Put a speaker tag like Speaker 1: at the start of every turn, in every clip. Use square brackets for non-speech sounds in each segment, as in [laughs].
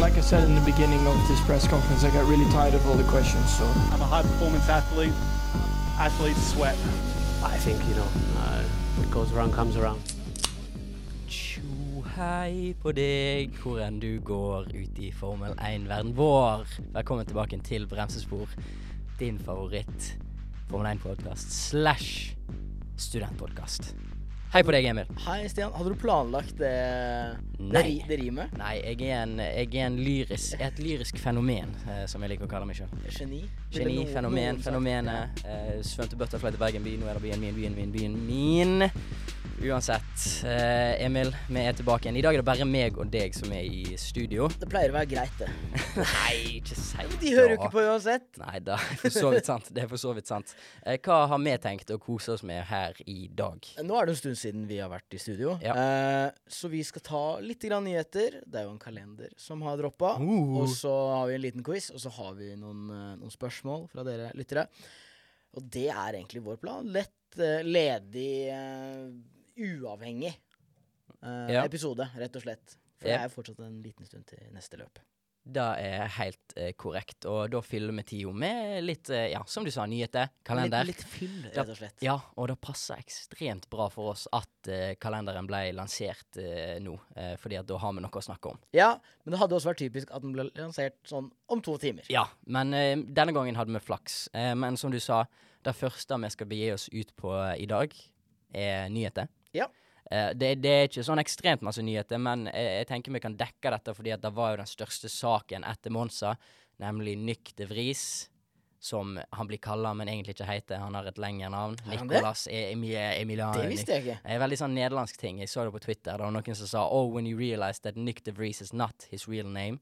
Speaker 1: Like I said in the beginning of this press conference, I got really tired of all the questions. So
Speaker 2: I'm a high performance athlete. Athletes sweat.
Speaker 3: I think, you know, uh, what goes around comes around.
Speaker 4: Tjo hei på deg, hvor enn du går ut i Formel 1-verden vår. Velkommen tilbake til Bremsespor, din favoritt Formel 1-podkast slash studentpodkast. Hei på deg, Emil.
Speaker 5: Hei, Stian. Hadde du planlagt det, det,
Speaker 4: Nei.
Speaker 5: ri- det rimet?
Speaker 4: Nei, jeg er, en, jeg er en lyris, et lyrisk fenomen, eh, som jeg liker å kalle meg sjøl.
Speaker 5: Geni? Ville
Speaker 4: Geni,
Speaker 5: noen-
Speaker 4: fenomen,
Speaker 5: noen sagt-
Speaker 4: fenomenet. Eh, svømte butterfly til Bergen by, nå er det byen min, byen min, byen min. Uansett, eh, Emil, vi er tilbake igjen. I dag er det bare meg og deg som er i studio.
Speaker 5: Det pleier å være greit, det.
Speaker 4: [laughs] Nei, ikke si det.
Speaker 5: De hører jo ikke på uansett.
Speaker 4: Nei da, for så vidt sant. Det er for så vidt sant. Eh, hva har vi tenkt å kose oss med her i dag?
Speaker 5: Nå er det en stund siden vi har vært i studio,
Speaker 4: Ja.
Speaker 5: eh, så vi skal ta litt grann nyheter. Det er jo en kalender som har droppa.
Speaker 4: Uh.
Speaker 5: Og så har vi en liten quiz, og så har vi noen, eh, noen spørsmål fra dere lyttere. Og det er egentlig vår plan. Lett, eh, ledig, eh, uavhengig eh,
Speaker 4: Ja.
Speaker 5: episode, rett og slett. For
Speaker 4: Ja.
Speaker 5: det er jo fortsatt en liten stund til neste løp.
Speaker 4: Det er helt eh, korrekt, og da fyller vi tida med litt, eh, ja, som du sa, nyheter, kalender.
Speaker 5: Litt, litt fyll,
Speaker 4: Da-
Speaker 5: rett og slett.
Speaker 4: Ja, og det passer ekstremt bra for oss at eh, kalenderen ble lansert eh, nå, eh, fordi at da har vi noe å snakke om.
Speaker 5: Ja, men det hadde også vært typisk at den ble lansert sånn om to timer.
Speaker 4: Ja, men eh, denne gangen hadde vi flaks. Eh, men som du sa, det første vi skal begi oss ut på eh, i dag, er nyheter.
Speaker 5: Ja.
Speaker 4: Eh, det, det er ikke sånn ekstremt masse nyheter, men eh, jeg tenker vi kan dekke dette, fordi at det var jo den største saken etter Monza, nemlig Nyk de Vries. Som han blir kalla, men egentlig ikke heter. Han har et lengre navn.
Speaker 5: Har han det?
Speaker 4: Nicolas E- Emiliano.
Speaker 5: Det visste jeg ikke.
Speaker 4: Det er veldig sånn nederlandsk ting. Jeg så det på Twitter. Det var noen som sa Oh, when you realize that Nick de Vries is not his real name.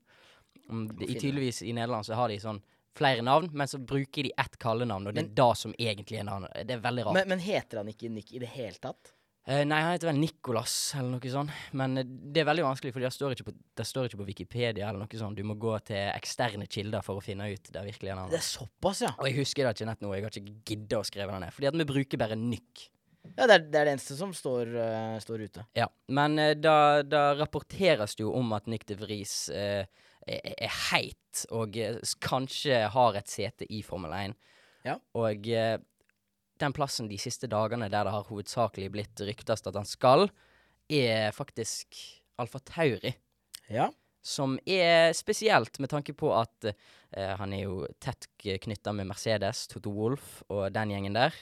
Speaker 4: Mm, det- i,
Speaker 5: finne det.
Speaker 4: tydeligvis i Nederland så har de sånn flere navn, men så bruker de ett kallenavn, og det er da som egentlig er navnet. Det er veldig rart.
Speaker 5: Men, men heter han ikke Nick i det hele tatt?
Speaker 4: Eh, nei, han heter vel Nicolas eller noe sånt, men eh, det er veldig vanskelig, for det står ikke på, det står ikke på Wikipedia eller noe sånt. Du må gå til eksterne kilder for å finne ut det virkelige
Speaker 5: Det
Speaker 4: navnet.
Speaker 5: er såpass, ja.
Speaker 4: Og jeg husker det ikke nett nå, jeg har ikke giddet å skrive det ned, fordi at vi bruker bare Nick.
Speaker 5: Ja, Det er det, er det eneste som står, eh, står ute.
Speaker 4: Ja, men eh, da, da rapporteres det jo om at Nick de Vries eh, er, er heit og eh, s- kanskje har et sete i Formel 1.
Speaker 5: Ja.
Speaker 4: Og eh, den plassen de siste dagene der det har hovedsakelig blitt ryktast at han skal, er faktisk Alfa Tauri.
Speaker 5: Ja.
Speaker 4: Som er spesielt med tanke på at eh, han er jo tett knytta med Mercedes, Toto Wolff og den gjengen der.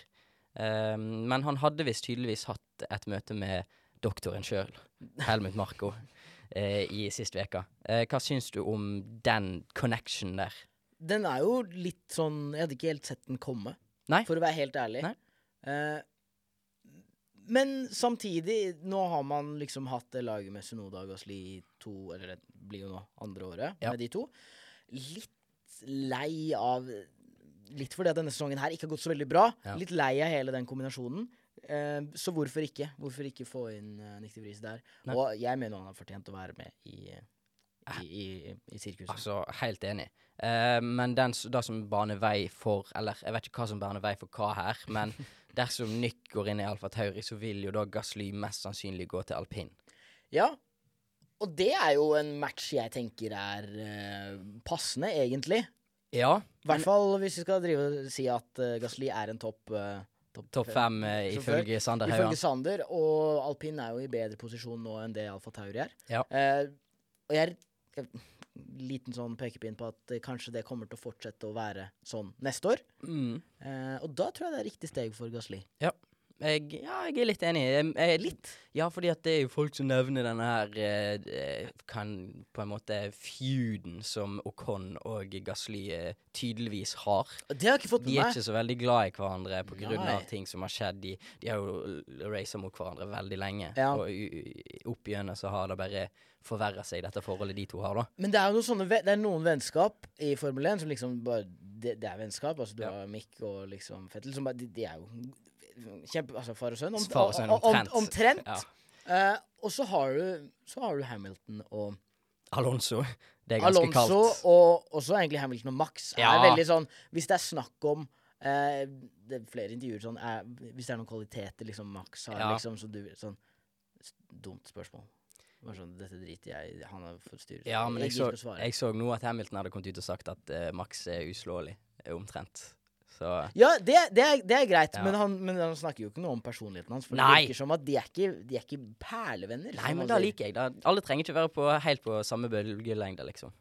Speaker 4: Eh, men han hadde visst tydeligvis hatt et møte med doktoren sjøl, Helmut Marko, eh, i sist uke. Eh, hva syns du om den connection der?
Speaker 5: Den er jo litt sånn Jeg hadde ikke helt sett den komme,
Speaker 4: Nei.
Speaker 5: for å være helt ærlig.
Speaker 4: Nei.
Speaker 5: Eh, men samtidig, nå har man liksom hatt det laget med Sunoda og Gasli i to Eller det blir jo nå andre året
Speaker 4: Ja.
Speaker 5: med de to. Litt lei av Litt fordi at denne sesongen her ikke har gått så veldig bra.
Speaker 4: Ja.
Speaker 5: Litt lei av hele den kombinasjonen. Eh, så hvorfor ikke? Hvorfor ikke få inn uh, Nikti Vris der?
Speaker 4: Nei.
Speaker 5: Og jeg mener han har fortjent å være med i, eh, i, i, i sirkuset.
Speaker 4: Altså, helt enig. Eh, men den, s- det som baner vei for Eller jeg vet ikke hva som baner vei for hva her, men dersom Nick går inn i Alfa Tauri, så vil jo da Gasly mest sannsynlig gå til alpin.
Speaker 5: Ja. Og det er jo en match jeg tenker er eh, passende, egentlig.
Speaker 4: Ja,
Speaker 5: I hvert fall hvis vi skal drive og si at eh, Gasli er en topp eh,
Speaker 4: topp fem eh,
Speaker 5: Som
Speaker 4: ifølge Sander Haugan.
Speaker 5: ifølge Sander. Og alpin er jo i bedre posisjon nå enn det Alfa Tauri er.
Speaker 4: Ja.
Speaker 5: Eh, og jeg er liten sånn pekepinn på at eh, kanskje det kommer til å fortsette å være sånn neste år.
Speaker 4: Mm.
Speaker 5: Eh, og da tror jeg det er riktig steg for Gasli.
Speaker 4: Jeg, ja, jeg er litt enig. Jeg, jeg, litt? Ja, fordi at det er jo folk som nevner denne her eh, eh, kan på en måte feuden som Ocon og Gasly eh, tydeligvis har.
Speaker 5: Det har jeg ikke
Speaker 4: De
Speaker 5: fått med
Speaker 4: er
Speaker 5: meg.
Speaker 4: ikke så veldig glad i hverandre på grunn
Speaker 5: Nei.
Speaker 4: av ting som har skjedd. De, de har jo racet mot hverandre veldig lenge,
Speaker 5: Ja.
Speaker 4: og u- opp igjennom så har det bare forverret seg, dette forholdet de to har, da.
Speaker 5: Men det er jo noen sånne ve- Det er noen vennskap i Formel 1 som liksom bare Det, det er vennskap. Altså du
Speaker 4: Ja.
Speaker 5: har Mick og liksom Fettel som bare De, de er jo kjempe... Altså far og sønn. omt-
Speaker 4: Far og sønn,
Speaker 5: om- om-
Speaker 4: omtrent.
Speaker 5: omtrent.
Speaker 4: Ja.
Speaker 5: Eh, og så har du Så har du Hamilton og
Speaker 4: Alonso. Det er ganske
Speaker 5: Alonso,
Speaker 4: kaldt.
Speaker 5: og også egentlig Hamilton og Max.
Speaker 4: Ja.
Speaker 5: Er veldig sånn Hvis det er snakk om eh, det er flere intervjuer sånn eh, Hvis det er noen kvaliteter liksom Max har,
Speaker 4: Ja.
Speaker 5: liksom, så du Sånn s- Dumt spørsmål. Bare sånn, Dette driter jeg i. Han er for styret.
Speaker 4: Ja, men jeg så,
Speaker 5: ikke å svare.
Speaker 4: jeg så nå at Hamilton hadde kommet ut og sagt at eh, Max er uslåelig, eh, omtrent. Så
Speaker 5: Ja, det, det, er, det er greit,
Speaker 4: Ja.
Speaker 5: men, han, men han snakker jo ikke noe om personligheten hans. For
Speaker 4: Nei.
Speaker 5: det virker som at de er ikke, de er ikke perlevenner.
Speaker 4: Nei,
Speaker 5: som
Speaker 4: men
Speaker 5: han
Speaker 4: da
Speaker 5: sier.
Speaker 4: liker jeg det. Alle trenger ikke være på, helt på samme bølgelengde, liksom.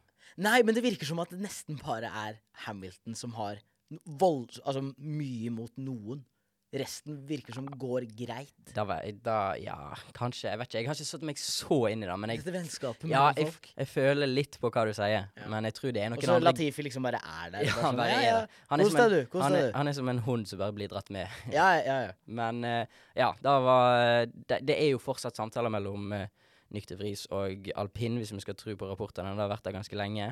Speaker 5: Nei, men det virker som at det nesten bare er Hamilton som har no- vold, altså mye mot noen. Resten virker som går greit.
Speaker 4: Da, var, da Ja, kanskje. Jeg vet ikke. Jeg har ikke satt meg så inn i det, men jeg
Speaker 5: Dette
Speaker 4: ja,
Speaker 5: vennskapet mellom
Speaker 4: jeg,
Speaker 5: folk.
Speaker 4: jeg føler litt på hva du sier,
Speaker 5: Ja.
Speaker 4: men jeg tror det er
Speaker 5: Og
Speaker 4: noen
Speaker 5: så
Speaker 4: andre
Speaker 5: Latifi liksom bare er der.
Speaker 4: [laughs] Ja,
Speaker 5: bare
Speaker 4: han
Speaker 5: sånn,
Speaker 4: bare
Speaker 5: ja,
Speaker 4: er
Speaker 5: ja.
Speaker 4: det. Han er
Speaker 5: Kos
Speaker 4: som en-
Speaker 5: deg, du. Kos
Speaker 4: han
Speaker 5: deg,
Speaker 4: er,
Speaker 5: du.
Speaker 4: han er som en hund som bare blir dratt med.
Speaker 5: Ja, ja, ja.
Speaker 4: Men eh, ja, da var eh, det, det er jo fortsatt samtaler mellom uh, Nykter Vris og Alpin, hvis vi skal tro på rapportene. Det har vært der ganske lenge.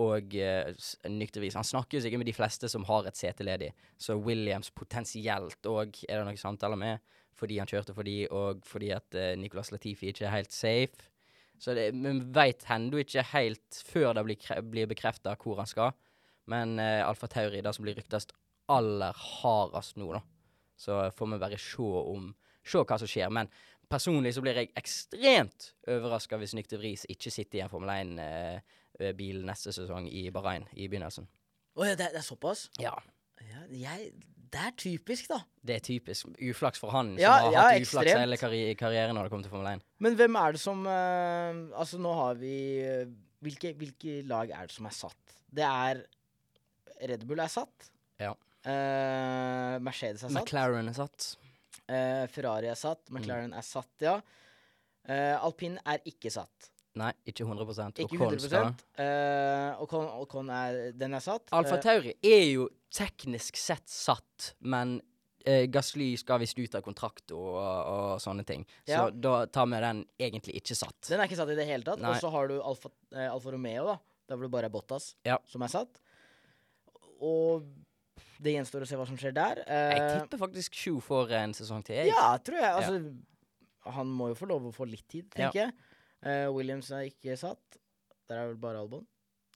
Speaker 4: Og uh, Nykter Vris Han snakker jo sikkert med de fleste som har et sete ledig. Så Williams potensielt òg er det noen samtaler med, fordi han kjørte for de, og fordi at eh, Nicolas Latifi ikke er helt safe. Så det, men veit Hendo ikke helt før det blir, kre- blir bekrefta hvor han skal. Men eh, Alfa Tauri, det som blir ryktes aller hardest nå, da. Så får vi bare se om Se hva som skjer. Men personlig så blir jeg ekstremt overraska hvis Nykter Vris ikke sitter i en Formel 1-bil neste sesong i Bahrain i begynnelsen.
Speaker 5: Å ja, det, er- det er såpass?
Speaker 4: Ja.
Speaker 5: Ja, jeg, det er typisk, da.
Speaker 4: Det er typisk uflaks for han, som
Speaker 5: Ja,
Speaker 4: har
Speaker 5: ja,
Speaker 4: hatt uflaks
Speaker 5: ekstremt.
Speaker 4: hele karri karrieren når det kommer til Formel 1.
Speaker 5: Men hvem er det som eh, Altså, nå har vi eh, hvilke, hvilke lag er det som er satt? Det er Red Bull er satt.
Speaker 4: Ja.
Speaker 5: Eh, Mercedes er satt.
Speaker 4: McLaren Mm. er satt.
Speaker 5: Eh, Ferrari er satt. McLaren er satt, ja. Uh, Alpin er ikke satt.
Speaker 4: Nei, ikke 100
Speaker 5: Ikke
Speaker 4: Ocon
Speaker 5: 100
Speaker 4: skal.
Speaker 5: uh, Ocon, Ocon er, den er satt.
Speaker 4: Alfa
Speaker 5: Eh,
Speaker 4: Tauri er jo teknisk sett satt, men eh, Gasly skal visst ut av kontrakt og, og sånne ting. Så
Speaker 5: Ja.
Speaker 4: da tar vi den egentlig ikke satt.
Speaker 5: Den er ikke satt i det hele tatt.
Speaker 4: Nei.
Speaker 5: Og så har du Alfa, eh, Alfa Romeo, da. Der hvor det bare er Bottas
Speaker 4: Ja.
Speaker 5: som er satt. Og det gjenstår å se hva som skjer der.
Speaker 4: Jeg
Speaker 5: Eh,
Speaker 4: tipper faktisk Sju får en sesong til. jeg.
Speaker 5: ja, tror jeg. Altså, han må jo få lov å få litt tid, tenker jeg. Eh, Williams er ikke satt. Der er vel bare Albon.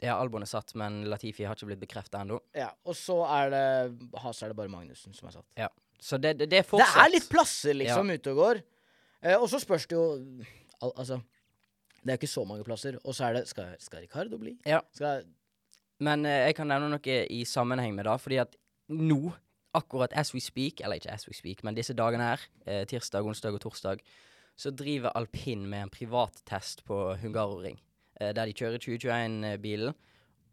Speaker 4: ja, Albon er satt, men Latifi har ikke blitt bekrefta ennå.
Speaker 5: Ja, Og så er det Has er det bare Magnussen som er satt.
Speaker 4: Så det, det, det er fortsatt
Speaker 5: Det er litt plasser liksom ute og går. Eh, og så spørs det jo al Altså, det er jo ikke så mange plasser. Og så er det Skal, skal Ricardo bli?
Speaker 4: Ja.
Speaker 5: Skal,
Speaker 4: Men eh, jeg kan nevne noe i sammenheng med det, fordi at nå, akkurat as we speak, eller ikke as we speak, men disse dagene her, eh, tirsdag, onsdag og torsdag, så driver alpin med en privattest på Hungaroring, eh, der de kjører 2021-bilen,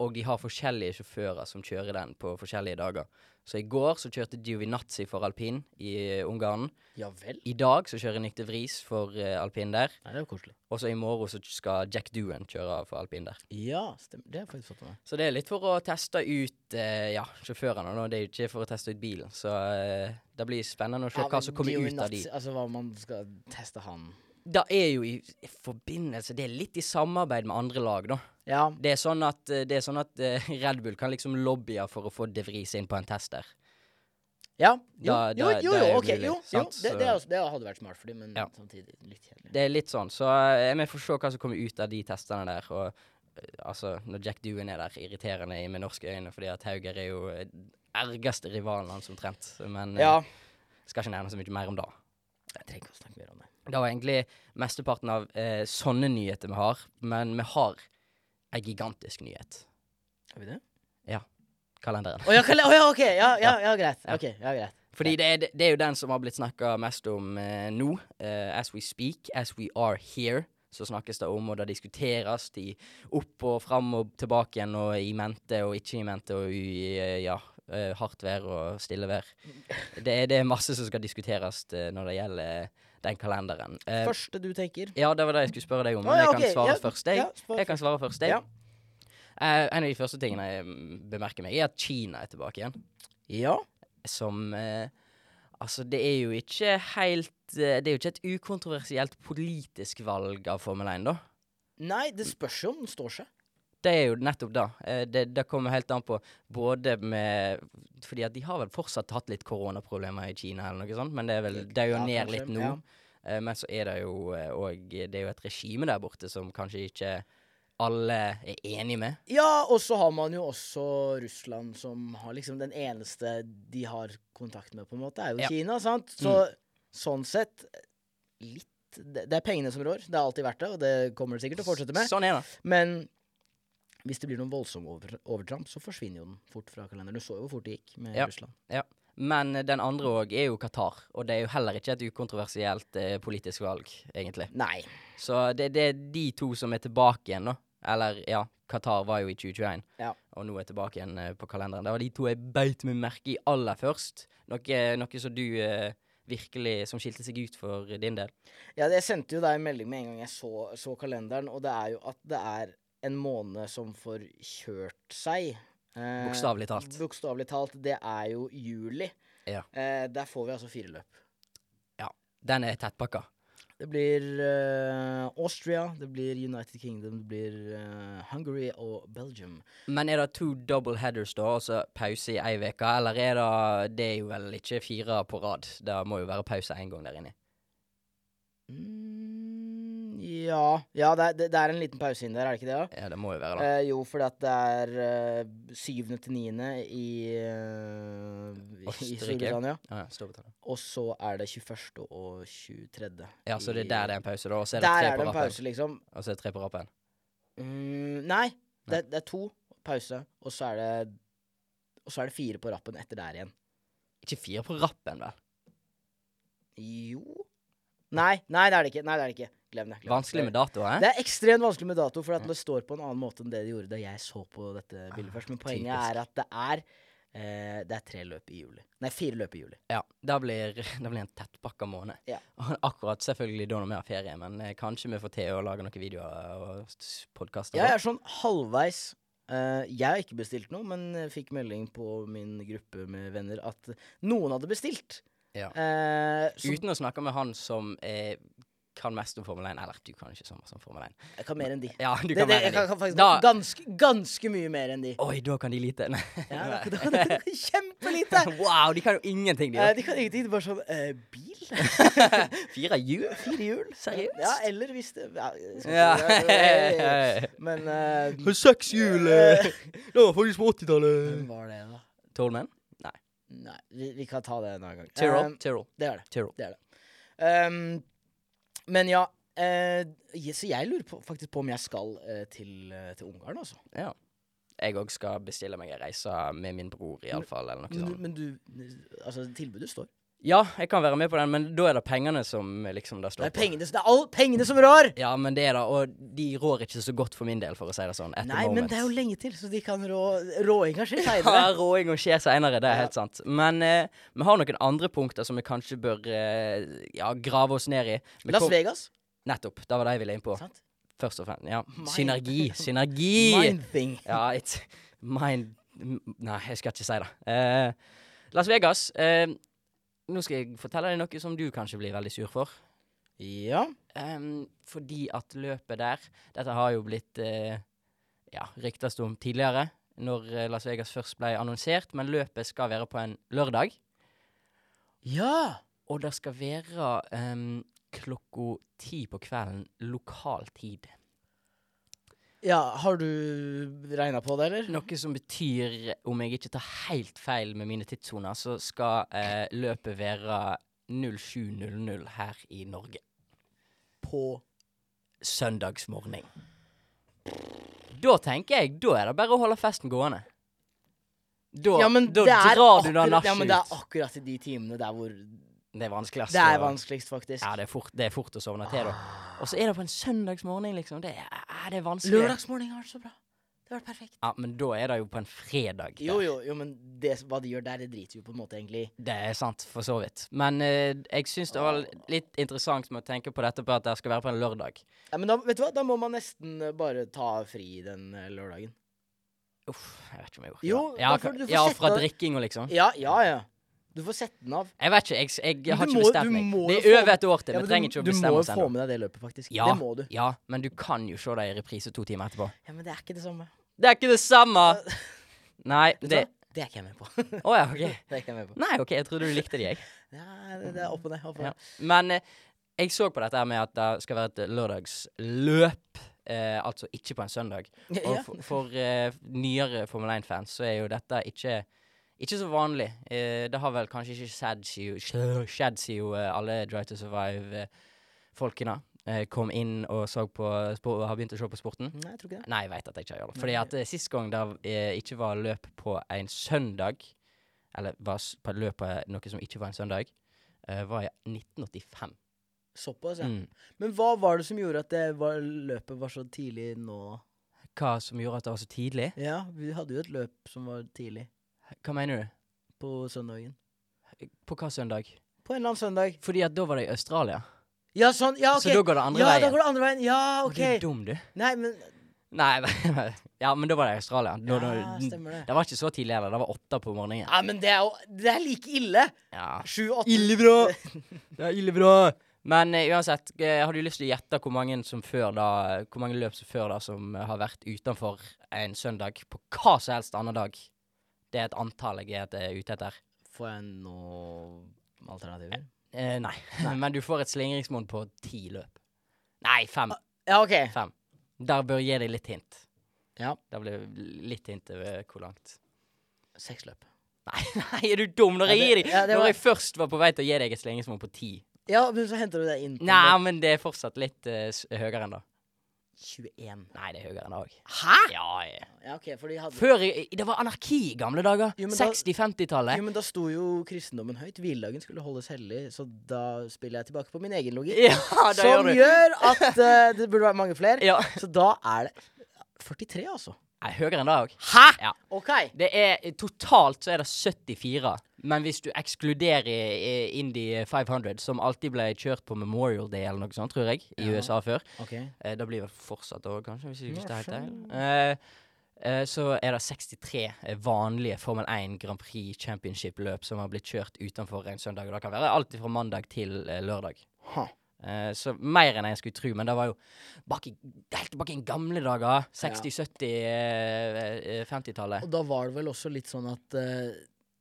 Speaker 4: og de har forskjellige sjåfører som kjører den på forskjellige dager. Så i går så kjørte Giovinazzi for alpin i eh, Ungarn.
Speaker 5: ja vel?
Speaker 4: I dag så kjører Nick de Vries for eh, alpin der.
Speaker 5: Nei, det er jo koselig.
Speaker 4: Og så i morgen så skal Jack Doohan kjøre for alpin der.
Speaker 5: Ja, stemmer. Det har jeg faktisk fått med meg.
Speaker 4: Så det er litt for å teste ut eh, ja, sjåførene. nå. Det er jo ikke for å teste ut bilen. Så eh, det blir spennende å se
Speaker 5: Ja,
Speaker 4: hva
Speaker 5: men
Speaker 4: som kommer ut av de.
Speaker 5: Giovinazzi, Altså hva man skal teste han
Speaker 4: Det er jo i i forbindelse Det er litt i samarbeid med andre lag, da.
Speaker 5: Ja.
Speaker 4: Det er sånn at, eh, det er sånn at eh, [laughs] Red Bull kan liksom lobbye for å få De Vries inn på en test der.
Speaker 5: ja. Jo,
Speaker 4: Da-
Speaker 5: jo,
Speaker 4: da-
Speaker 5: jo,
Speaker 4: da
Speaker 5: jo,
Speaker 4: er det
Speaker 5: ok.
Speaker 4: mulig,
Speaker 5: Jo, jo.
Speaker 4: sant?
Speaker 5: Det,
Speaker 4: Så-
Speaker 5: det, er også, det hadde vært smart for dem, men
Speaker 4: Ja.
Speaker 5: samtidig litt kjedelig.
Speaker 4: Det er litt sånn. Så eh, vi får se hva som kommer ut av de testene der. Og eh, altså, når Jack Doohan er der, irriterende i- med norske øyne, fordi at Hauger er jo eh, ergeste rivalen hans omtrent. Men eh,
Speaker 5: Ja.
Speaker 4: skal ikke nevne så mye mer om det.
Speaker 5: Jeg trenger ikke å snakke mer om det.
Speaker 4: Det var egentlig mesteparten av eh, sånne nyheter vi har, men vi har ei gigantisk nyhet.
Speaker 5: Har vi det?
Speaker 4: Kalenderen.
Speaker 5: Å ja, Kalle- å ja, ok. Ja, ja, ja greit.
Speaker 4: Ja.
Speaker 5: Ok, ja, greit.
Speaker 4: Fordi det er, det er jo den som har blitt snakka mest om eh, nå. Eh, as we speak, as we are here, så snakkes det om, og det diskuteres i opp og fram og tilbake igjen, og i mente og ikke i mente, og i eh, ja, eh, hardt vær og stille
Speaker 5: [laughs]
Speaker 4: vær. Det er, det er masse som skal diskuteres eh, når det gjelder den kalenderen. Eh,
Speaker 5: Første du tenker
Speaker 4: Ja, det var det jeg skulle spørre deg om,
Speaker 5: Å,
Speaker 4: men
Speaker 5: ja,
Speaker 4: jeg kan
Speaker 5: ok,
Speaker 4: svare
Speaker 5: ja,
Speaker 4: først. Jeg,
Speaker 5: ja, svar
Speaker 4: jeg kan svare først, jeg.
Speaker 5: Ja.
Speaker 4: Eh, en av de første tingene jeg mm, bemerker meg, er at Kina er tilbake igjen.
Speaker 5: Ja.
Speaker 4: Som eh, Altså, det er jo ikke helt eh, Det er jo ikke et ukontroversielt politisk valg av Formel 1, da.
Speaker 5: Nei, det spørs jo om den står seg.
Speaker 4: Det er jo nettopp det. Eh, Det, det kommer helt an på både med Fordi at de har vel fortsatt hatt litt koronaproblemer i Kina eller noe sånt, men det er vel Det er jo
Speaker 5: Ja,
Speaker 4: ned
Speaker 5: kanskje,
Speaker 4: litt nå.
Speaker 5: ja.
Speaker 4: Eh, Men så er det jo eh, og Det er jo et regime der borte som kanskje ikke alle er enige med.
Speaker 5: Ja, og så har man jo også Russland, som har liksom den eneste de har kontakt med, på en måte, er jo
Speaker 4: Ja.
Speaker 5: Kina, sant? Så sånn sett litt litt Det det er pengene som rår. Det har alltid vært det, og det kommer det sikkert til å fortsette med.
Speaker 4: Sånn er det.
Speaker 5: Men hvis det blir noen voldsom over, overtramp, så forsvinner jo den fort fra kalenderen. Du så jo hvor fort det gikk med
Speaker 4: Ja.
Speaker 5: Russland.
Speaker 4: Men eh, den andre òg er jo Qatar, og det er jo heller ikke et ukontroversielt eh, politisk valg, egentlig.
Speaker 5: Nei.
Speaker 4: Så det, det er de to som er tilbake igjen, da. Eller ja, Qatar var jo i 2021,
Speaker 5: Ja.
Speaker 4: og nå er tilbake igjen eh, på kalenderen. Det var de to jeg beit meg merke i aller først. Noe, noe som du eh, virkelig Som skilte seg ut for din del.
Speaker 5: Ja, jeg sendte jo deg en melding med en gang jeg så, så kalenderen, og det er jo at det er en måned som får kjørt seg. Eh,
Speaker 4: Bokstavelig talt.
Speaker 5: Bokstavelig talt. Det er jo juli.
Speaker 4: Ja.
Speaker 5: Eh, der får vi altså fire løp.
Speaker 4: Den er tettpakka.
Speaker 5: Det blir eh, Austria, det blir United Kingdom, det blir eh, Hungary og Belgium.
Speaker 4: Men er det to double headers, da, og så pause i ei uke? Eller er det Det er jo vel ikke fire på rad. Det må jo være pause én gang der inne.
Speaker 5: Mm, ja, ja det, er- det, det er en liten pause inn der, er det ikke det? Ja?
Speaker 4: Ja, det må jo være det.
Speaker 5: Eh, jo, fordi at det er eh, syvende til niende i, eh, i
Speaker 4: Østerrike.
Speaker 5: Storbritannia.
Speaker 4: Ja, ja, Storbritannia.
Speaker 5: Og så er det 21. og 23.
Speaker 4: Ja, så det er der det er en pause, da? Og så er det
Speaker 5: Der
Speaker 4: tre
Speaker 5: er
Speaker 4: på
Speaker 5: det en
Speaker 4: rappen?
Speaker 5: pause, liksom.
Speaker 4: Og så er det tre på rappen?
Speaker 5: Mm, nei, det, det er to pause, og så er det Og så er det fire på rappen etter der igjen.
Speaker 4: Ikke fire på rappen, vel?
Speaker 5: Jo Nei, nei, det er det ikke. Nei, det er det ikke. Glem det. Glem det.
Speaker 4: Vanskelig med Mm. datoer, eh? hæ?
Speaker 5: Det er ekstremt vanskelig med dato, for at det står på en annen måte enn det det gjorde da jeg så på dette bildet først. Men poenget
Speaker 4: Ah, typisk.
Speaker 5: er at det er eh, Det er tre løp i juli. Nei, fire løp i juli.
Speaker 4: Ja. Det blir, [laughs] det blir en tettpakka måned.
Speaker 5: Ja.
Speaker 4: Og Akkurat selvfølgelig da når vi har ferie, men eh, kanskje vi får til å lage noen videoer og podkaster.
Speaker 5: Jeg er sånn halvveis eh, Jeg har ikke bestilt noe, men jeg fikk melding på min gruppe med venner at noen hadde bestilt.
Speaker 4: Ja.
Speaker 5: Eh, så
Speaker 4: Uten å snakke med han som eh, kan mest om Formel 1. Eller du kan ikke så mye om Formel 1.
Speaker 5: jeg kan mer enn de.
Speaker 4: Ja, du
Speaker 5: Det,
Speaker 4: kan
Speaker 5: det,
Speaker 4: være
Speaker 5: jeg kan,
Speaker 4: enig.
Speaker 5: kan faktisk
Speaker 4: Da-
Speaker 5: ganske, ganske mye mer enn de.
Speaker 4: Oi, da kan de lite. [laughs] Nei.
Speaker 5: Ja, [laughs] da- da- da- Kjempelite!
Speaker 4: [laughs] wow, de kan jo ingenting, de.
Speaker 5: Eh,
Speaker 4: da.
Speaker 5: de kan ingenting. de Bare sånn eh, Bil?
Speaker 4: Fire hjul?
Speaker 5: Fire hjul?
Speaker 4: Seriøst?
Speaker 5: Ja, eller hvis det ja, sånn jeg skal
Speaker 4: Ja.
Speaker 5: ikke-
Speaker 4: [laughs]
Speaker 5: Men eh,
Speaker 2: Seks
Speaker 5: [laughs] eh,
Speaker 2: Det var faktisk på 80-tallet.
Speaker 5: Hvem var det, da?
Speaker 4: Tolman?
Speaker 5: Nei, vi, vi kan ta det en annen gang.
Speaker 4: Tyrol?
Speaker 5: Eh,
Speaker 4: Tyrol.
Speaker 5: det er det.
Speaker 4: Tyrol.
Speaker 5: Ehm, men ja eh, je- Så jeg lurer på, faktisk på om jeg skal eh, til, eh, til Ungarn, altså.
Speaker 4: Ja. Jeg òg skal bestille meg ei reise med min bror, iallfall, eller noe
Speaker 5: Men, du-
Speaker 4: sånt.
Speaker 5: men du Altså, tilbudet står.
Speaker 4: Ja, jeg kan være med på den, men da er det pengene som liksom det
Speaker 5: Det
Speaker 4: står
Speaker 5: er pengene, det er all pengene som rår!
Speaker 4: på. Ja, men det er det, og de rår ikke så godt for min del, for å si det sånn. At the
Speaker 5: Nei, men
Speaker 4: moment.
Speaker 5: det er jo lenge til, så de kan rå Råinga
Speaker 4: [laughs]
Speaker 5: skjer
Speaker 4: Ja,
Speaker 5: seinere.
Speaker 4: råing og skje seinere, det er
Speaker 5: Ja.
Speaker 4: helt sant. Men eh, vi har noen andre punkter som vi kanskje bør eh, ja, grave oss ned i. Vi
Speaker 5: Las
Speaker 4: kom-
Speaker 5: Vegas.
Speaker 4: Nettopp. Det var det jeg ville inn på.
Speaker 5: Sant?
Speaker 4: Først og fremst. Ja.
Speaker 5: Mind-
Speaker 4: Synergi. Synergi!
Speaker 5: Mind thing.
Speaker 4: Ja, it's mind m- Nei, jeg skal ikke si det. Eh, Las Vegas. eh, nå skal jeg fortelle deg noe som du kanskje blir veldig sur for.
Speaker 5: Ja.
Speaker 4: Em, Ehm, fordi at løpet der Dette har jo blitt eh, ja, ryktes om tidligere, når eh, Las Vegas først ble annonsert, men løpet skal være på en lørdag.
Speaker 5: Ja.
Speaker 4: Og det skal være em, klokka ti på kvelden lokal tid.
Speaker 5: ja. Har du regna på det, eller?
Speaker 4: Noe som betyr, om jeg ikke tar helt feil med mine tidssoner, så skal eh, løpet være 07.00 her i Norge.
Speaker 5: På
Speaker 4: Søndagsmorgen. Da tenker jeg, da er det bare å holde festen gående. Da,
Speaker 5: Ja, men
Speaker 4: da
Speaker 5: det er
Speaker 4: drar du da
Speaker 5: akkurat-
Speaker 4: nachet
Speaker 5: Ja, men det er
Speaker 4: ut.
Speaker 5: akkurat i de timene der hvor
Speaker 4: Det er vanskelig, ass.
Speaker 5: det er
Speaker 4: å-
Speaker 5: vanskeligst, faktisk.
Speaker 4: Ja, det er fort, det er fort å sovne til, da. Og så er det på en søndagsmorgen, liksom. Det er, ja, det er vanskelig.
Speaker 5: Lørdagsmorgen har vært så bra. Det har vært perfekt.
Speaker 4: Ja, men da er det jo på en fredag.
Speaker 5: Jo,
Speaker 4: der.
Speaker 5: jo, jo, men det, hva de gjør der, det driter vi jo på en måte egentlig i.
Speaker 4: Det er sant, for så vidt. Men eh, jeg syns det var litt interessant med å tenke på dette på at det skal være på en lørdag.
Speaker 5: Ja, men da, vet du hva, da må man nesten eh, bare ta fri den eh, lørdagen.
Speaker 4: Uff, jeg vet ikke om jeg orker
Speaker 5: Jo,
Speaker 4: det. ja,
Speaker 5: da får-
Speaker 4: ka-
Speaker 5: du får
Speaker 4: ja,
Speaker 5: sette
Speaker 4: fra
Speaker 5: deg-
Speaker 4: drikking og liksom.
Speaker 5: Ja, ja, ja. Du får sette den av.
Speaker 4: Jeg vet ikke, jeg, jeg,
Speaker 5: Men
Speaker 4: har
Speaker 5: du
Speaker 4: ikke
Speaker 5: må-
Speaker 4: bestemt
Speaker 5: du
Speaker 4: meg.
Speaker 5: må
Speaker 4: Det
Speaker 5: jo
Speaker 4: er
Speaker 5: få-
Speaker 4: over et år til,
Speaker 5: Ja,
Speaker 4: vi
Speaker 5: men
Speaker 4: trenger ikke å
Speaker 5: du, du
Speaker 4: bestemme
Speaker 5: må
Speaker 4: oss
Speaker 5: jo få
Speaker 4: ennå.
Speaker 5: med deg det løpet, faktisk.
Speaker 4: Ja.
Speaker 5: Det må du.
Speaker 4: Ja, men du kan jo se det i reprise to timer etterpå.
Speaker 5: Ja, Men det er ikke det samme.
Speaker 4: Det er ikke det samme! Nei,
Speaker 5: Det,
Speaker 4: det
Speaker 5: det er ikke jeg med på. [laughs]
Speaker 4: Å ja, OK.
Speaker 5: det er ikke jeg med på.
Speaker 4: Nei, OK, jeg trodde du likte de, jeg.
Speaker 5: Ja, det, det er opp og ned. Opp og
Speaker 4: Ja.
Speaker 5: ned.
Speaker 4: Men eh, jeg så på dette her med at det skal være et lørdagsløp, eh, altså ikke på en søndag. Og
Speaker 5: Ja.
Speaker 4: for, for eh, nyere Formel 1-fans så er jo dette ikke, ikke så vanlig. Eh, det har vel kanskje ikke skjedd siden- skjedd siden eh, alle Drive to Survive eh, folkene eh, kom inn og, så på, spo- og har begynt å se på sporten?
Speaker 5: Mm, Nei, jeg tror ikke det.
Speaker 4: Nei, jeg vet at jeg ikke gjør det. Fordi at eh, sist gang det eh, ikke var løp på en søndag, eller var s- på løp på noe som ikke var en søndag, eh, var i 1985.
Speaker 5: Såpass, ja.
Speaker 4: Mm.
Speaker 5: Men hva var det som gjorde at det var, løpet var så tidlig nå?
Speaker 4: Hva som gjorde at det var så tidlig?
Speaker 5: Ja, vi hadde jo et løp som var tidlig
Speaker 4: Hva mener du?
Speaker 5: på søndagen.
Speaker 4: På hva søndag?
Speaker 5: På en eller annen søndag.
Speaker 4: Fordi at da var det i Australia.
Speaker 5: Ja, sånn. Ja, OK.
Speaker 4: Så da går det andre
Speaker 5: ja, da
Speaker 4: veien.
Speaker 5: går det andre veien. Ja,
Speaker 4: Å,
Speaker 5: OK.
Speaker 4: Du er dum, du.
Speaker 5: Nei, men
Speaker 4: Nei, [laughs] ja, men da var det i Australia. Da,
Speaker 5: Ja,
Speaker 4: da,
Speaker 5: stemmer Ah, det.
Speaker 4: det var ikke så tidlig heller. Det var åtte på morgenen.
Speaker 5: Nei, men det er jo Det er like ille.
Speaker 4: Ja.
Speaker 5: Sju-åtte.
Speaker 4: Illebra! [laughs] Det er illebra! Men eh, uansett, eh, har du lyst til å gjette hvor mange, som før da, hvor mange løp som før da som eh, har vært utenfor en søndag på hva som helst annen dag? Det er et antall jeg er eh, ute etter.
Speaker 5: Får jeg noen alternativer?
Speaker 4: Eh, nei. [laughs] men du får et slingringsmonn på ti løp. Nei, fem.
Speaker 5: Ja, OK.
Speaker 4: Fem. Der bør jeg gi deg litt hint.
Speaker 5: Ja.
Speaker 4: Det blir litt hint over hvor langt.
Speaker 5: Seks løp.
Speaker 4: Nei, [laughs] nei, er du dum? Når jeg,
Speaker 5: Ja,
Speaker 4: gir
Speaker 5: det-
Speaker 4: deg,
Speaker 5: ja, det
Speaker 4: når
Speaker 5: var-
Speaker 4: jeg først var på vei til å gi deg et slingringsmonn på ti
Speaker 5: Ja, men så henter du det inn på
Speaker 4: Nei, men det er fortsatt litt eh, s- høyere enn det.
Speaker 5: 21.
Speaker 4: Nei, det er høyere enn det òg.
Speaker 5: Hæ?!
Speaker 4: Ja, ja.
Speaker 5: Ja, OK, for de hadde
Speaker 4: Før i- Det var anarki i gamle dager.
Speaker 5: Jo, men da-
Speaker 4: 60-50-tallet.
Speaker 5: Jo, men da sto jo kristendommen høyt. Hviledagen skulle holdes hellig, så da spiller jeg tilbake på min egen logikk. [laughs]
Speaker 4: Ja, det gjør
Speaker 5: som
Speaker 4: du.
Speaker 5: gjør at eh, [laughs] det burde være mange flere.
Speaker 4: Ja.
Speaker 5: Så da er det 43, altså.
Speaker 4: Nei, høyere enn det òg.
Speaker 5: Hæ?!
Speaker 4: Ja.
Speaker 5: OK.
Speaker 4: Det er Totalt så er det 74, men hvis du ekskluderer eh, Indy 500, som alltid ble kjørt på Memorial Day eller noe sånt, tror jeg, i
Speaker 5: Ja.
Speaker 4: USA før,
Speaker 5: Ok.
Speaker 4: eh, da blir det fortsatt òg, kanskje, hvis jeg
Speaker 5: Ja,
Speaker 4: husker helt feil. Eh, eh, så er det 63 vanlige Formel 1 Grand Prix Championship-løp som har blitt kjørt utenfor en søndag. Og det kan være alt fra mandag til eh, lørdag.
Speaker 5: Ha.
Speaker 4: Eh, så mer enn jeg skulle tro, men det var jo bak i, helt tilbake i gamle dager. 60-, 70-, eh, eh, 50-tallet.
Speaker 5: Og da var det vel også litt sånn at eh,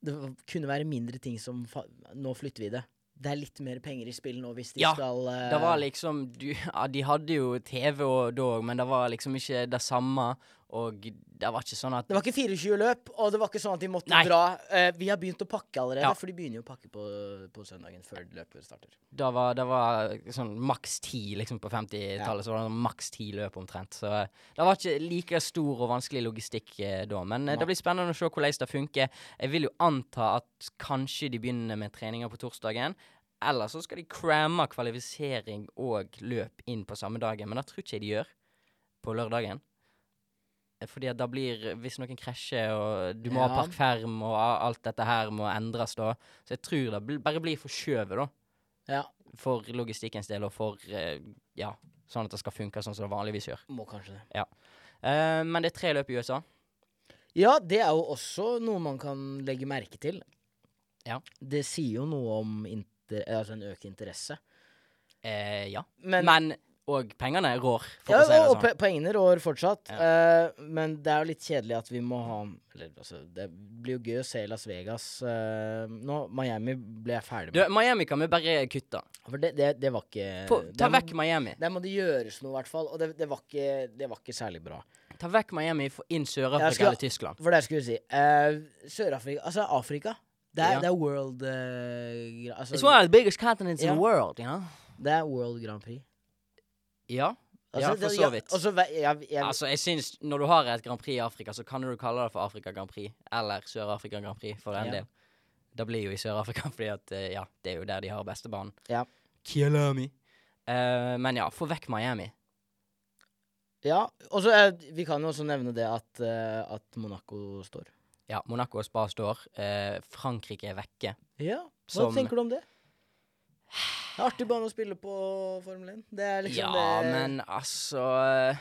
Speaker 5: det var- kunne være mindre ting som fa Nå flytter vi det. Det er litt mer penger i spill nå hvis de
Speaker 4: Ja,
Speaker 5: skal eh,
Speaker 4: Det var liksom du, ja, De hadde jo TV og da òg, men det var liksom ikke det samme. Og det var ikke sånn at
Speaker 5: Det var ikke 24 løp, og det var ikke sånn at de måtte
Speaker 4: Nei.
Speaker 5: dra. Eh, vi har begynt å pakke allerede,
Speaker 4: Ja.
Speaker 5: for de begynner jo å pakke på, på søndagen før løpet starter.
Speaker 4: Det var, det var sånn maks ti liksom på 50-tallet. Så var det sånn maks ti løp omtrent. Så det var ikke like stor og vanskelig logistikk eh, da. Men eh,
Speaker 5: Nei.
Speaker 4: det blir spennende å se hvordan det funker. Jeg vil jo anta at kanskje de begynner med treninger på torsdagen. Eller så skal de cramme kvalifisering og løp inn på samme dagen. Men det tror ikke jeg de gjør på lørdagen. Eh, Fordi at da blir Hvis noen krasjer, og du må ha
Speaker 5: Ja.
Speaker 4: parkferm, og a- alt dette her må endres da. Så jeg tror det bl- bare blir forskjøvet, da
Speaker 5: Ja,
Speaker 4: for logistikkens del, og for eh, ja, sånn at det skal funke sånn som det vanligvis gjør.
Speaker 5: må kanskje det.
Speaker 4: Eh, men det er tre løp i USA.
Speaker 5: Ja, det er jo også noe man kan legge merke til.
Speaker 4: Ja.
Speaker 5: Det sier jo noe om inter eh, altså en økt interesse.
Speaker 4: Eh, ja.
Speaker 5: Men,
Speaker 4: Men Og pengene rår, for å
Speaker 5: ja,
Speaker 4: si det
Speaker 5: og
Speaker 4: sånn.
Speaker 5: po- poengene rår fortsatt. eh, men det er jo litt kjedelig at vi må ha Eller altså, det blir jo gøy å se Las Vegas eh, nå. Miami ble jeg ferdig
Speaker 4: Du,
Speaker 5: med.
Speaker 4: Miami kan vi bare kutte.
Speaker 5: For det, det, det var ikke
Speaker 4: På, ta
Speaker 5: der må-
Speaker 4: vekk Miami.
Speaker 5: Der må det gjøres noe, i hvert fall. Og det, det, var ikke, det var ikke særlig bra.
Speaker 4: Ta vekk Miami, få inn
Speaker 5: Jeg
Speaker 4: Sør-Afrika
Speaker 5: skal-
Speaker 4: eller Tyskland.
Speaker 5: For det skulle jeg si eh, Sør-Afrika Altså Afrika. Det er,
Speaker 4: Ja.
Speaker 5: det er world eh, gra- altså,
Speaker 4: It's one of the biggest continents
Speaker 5: Ja.
Speaker 4: in the world, you know.
Speaker 5: Det er world Grand Prix.
Speaker 4: Ja.
Speaker 5: Altså,
Speaker 4: ja,
Speaker 5: det-
Speaker 4: for så vidt.
Speaker 5: og så ve- jeg, jeg,
Speaker 4: Altså, jeg syns Når du har et Grand Prix i Afrika, så kan du kalle det for Afrika Grand Prix. Eller Sør-Afrika Grand Prix, for den
Speaker 5: Ja.
Speaker 4: del. Det blir jo i Sør-Afrika, fordi at eh, ja, det er jo der de har bestebanen.
Speaker 5: Ja.
Speaker 4: Kielami. Eh, men ja, få vekk Miami.
Speaker 5: ja, og så eh, Vi kan jo også nevne det at, eh, at Monaco står.
Speaker 4: Ja, Monaco og Spa står. Eh, Frankrike er vekke.
Speaker 5: Ja, Hva
Speaker 4: Som-
Speaker 5: tenker du om det? Det er artig bane å spille på Formel 1. Det er [sighs] liksom
Speaker 4: ja,
Speaker 5: det
Speaker 4: men altså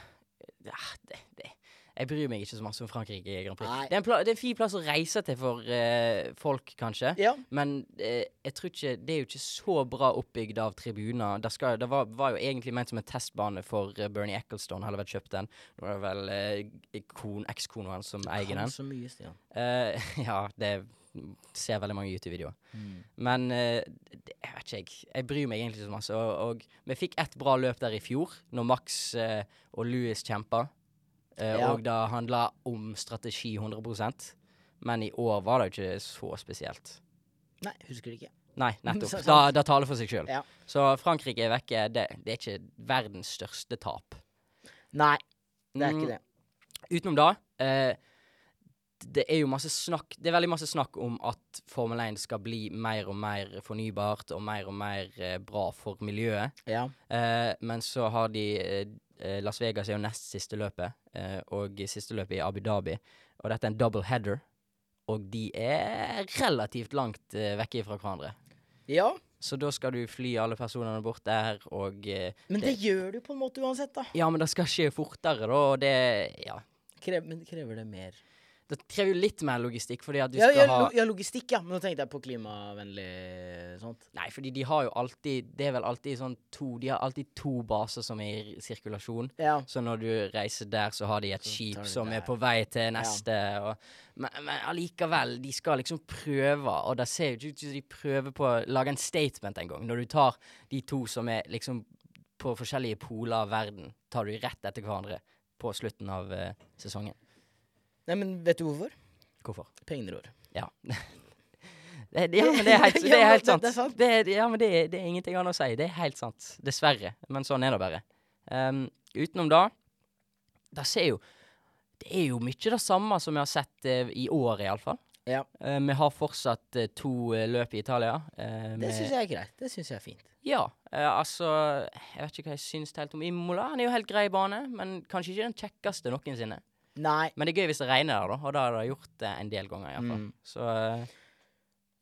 Speaker 4: ja, det, det. Jeg bryr meg ikke så masse om Frankrike i Grand Prix.
Speaker 5: Nei.
Speaker 4: Det er, en pla det er en fin plass å reise til for eh, folk, kanskje.
Speaker 5: Ja,
Speaker 4: Men eh, jeg tror ikke, det er jo ikke så bra oppbygd av tribuner. Det, skal, det var, var jo egentlig ment som en testbane for eh, Bernie Ecclestone, hadde vært kjøpt den. Nå er det vel eh, kon, ekskona hans som eier
Speaker 5: kan
Speaker 4: den.
Speaker 5: så mye, Stian.
Speaker 4: Eh, [laughs] ja, det ser veldig mange YouTube-videoer. Men eh, det, jeg vet ikke, jeg. Jeg bryr meg egentlig ikke så masse. Og, og vi fikk ett bra løp der i fjor, når Max eh, og Louis kjempa. Eh,
Speaker 5: Ja.
Speaker 4: Og det handla om strategi 100 Men i år var det jo ikke så spesielt.
Speaker 5: Nei, husker det ikke. [laughs]
Speaker 4: Nei, nettopp.
Speaker 5: Så sant.
Speaker 4: Da, da taler for seg sjøl.
Speaker 5: Ja.
Speaker 4: Så Frankrike er vekke. Det, det er ikke verdens største tap.
Speaker 5: Nei, det er
Speaker 4: Mm,
Speaker 5: ikke det.
Speaker 4: Utenom da eh, Det er jo masse snakk Det er veldig masse snakk om at Formel 1 skal bli mer og mer fornybart og mer og mer eh, bra for miljøet.
Speaker 5: Ja.
Speaker 4: Eh, men så har de eh, eh, Las Vegas er jo nest siste løpet, eh, og siste løpet i Abu Dhabi. Og dette er en double header, og de er relativt langt eh, vekke fra hverandre.
Speaker 5: ja.
Speaker 4: Så da skal du fly alle personene bort der, og eh,
Speaker 5: Men det gjør du på en måte uansett, da.
Speaker 4: Ja, men det skal skje fortere, da, og det Ja.
Speaker 5: Krev, men krever det mer?
Speaker 4: Det krever jo litt mer logistikk, fordi at du
Speaker 5: Ja,
Speaker 4: skal
Speaker 5: ja,
Speaker 4: ha
Speaker 5: lo, ja, logistikk, ja. Men nå tenkte jeg på klimavennlig eh, sånt.
Speaker 4: Nei, fordi de har jo alltid Det er vel alltid sånn to De har alltid to baser som er i sirkulasjon.
Speaker 5: Ja.
Speaker 4: Så når du reiser der, så har de et
Speaker 5: Så
Speaker 4: skip
Speaker 5: tar de
Speaker 4: som er
Speaker 5: der.
Speaker 4: på vei til neste. Og, men, men allikevel, de skal liksom prøve, og det ser jo ikke ut som de prøver på å lage en statement engang. Når du tar de to som er liksom på forskjellige poler av verden, tar du rett etter hverandre på slutten av eh, sesongen.
Speaker 5: Nei, men vet du hvorfor?
Speaker 4: Hvorfor?
Speaker 5: Penger rår.
Speaker 4: Ja. [laughs] Det, det- ja, men det er helt, det
Speaker 5: [laughs] Ja,
Speaker 4: er helt
Speaker 5: det- det
Speaker 4: sant.
Speaker 5: er sant.
Speaker 4: Det er, ja, men det er, det er ingenting annet å si. Det er helt sant. Dessverre. Men sånn er det bare. Ehm, utenom da, da ser jo Det er jo mye det samme som vi har sett eh, i år, iallfall.
Speaker 5: Ja.
Speaker 4: Uh, vi har fortsatt eh, to eh, løp i Italia. eh,
Speaker 5: Det
Speaker 4: med-
Speaker 5: syns jeg er greit. Det syns jeg er fint.
Speaker 4: Ja. eh, altså Jeg vet ikke hva jeg syns helt om Imola. Han er jo helt grei bane, men kanskje ikke den kjekkeste noensinne.
Speaker 5: Nei.
Speaker 4: Men det er gøy hvis det regner der, da. Og det har det gjort det en del ganger, iallfall.
Speaker 5: Mm.
Speaker 4: Så eh,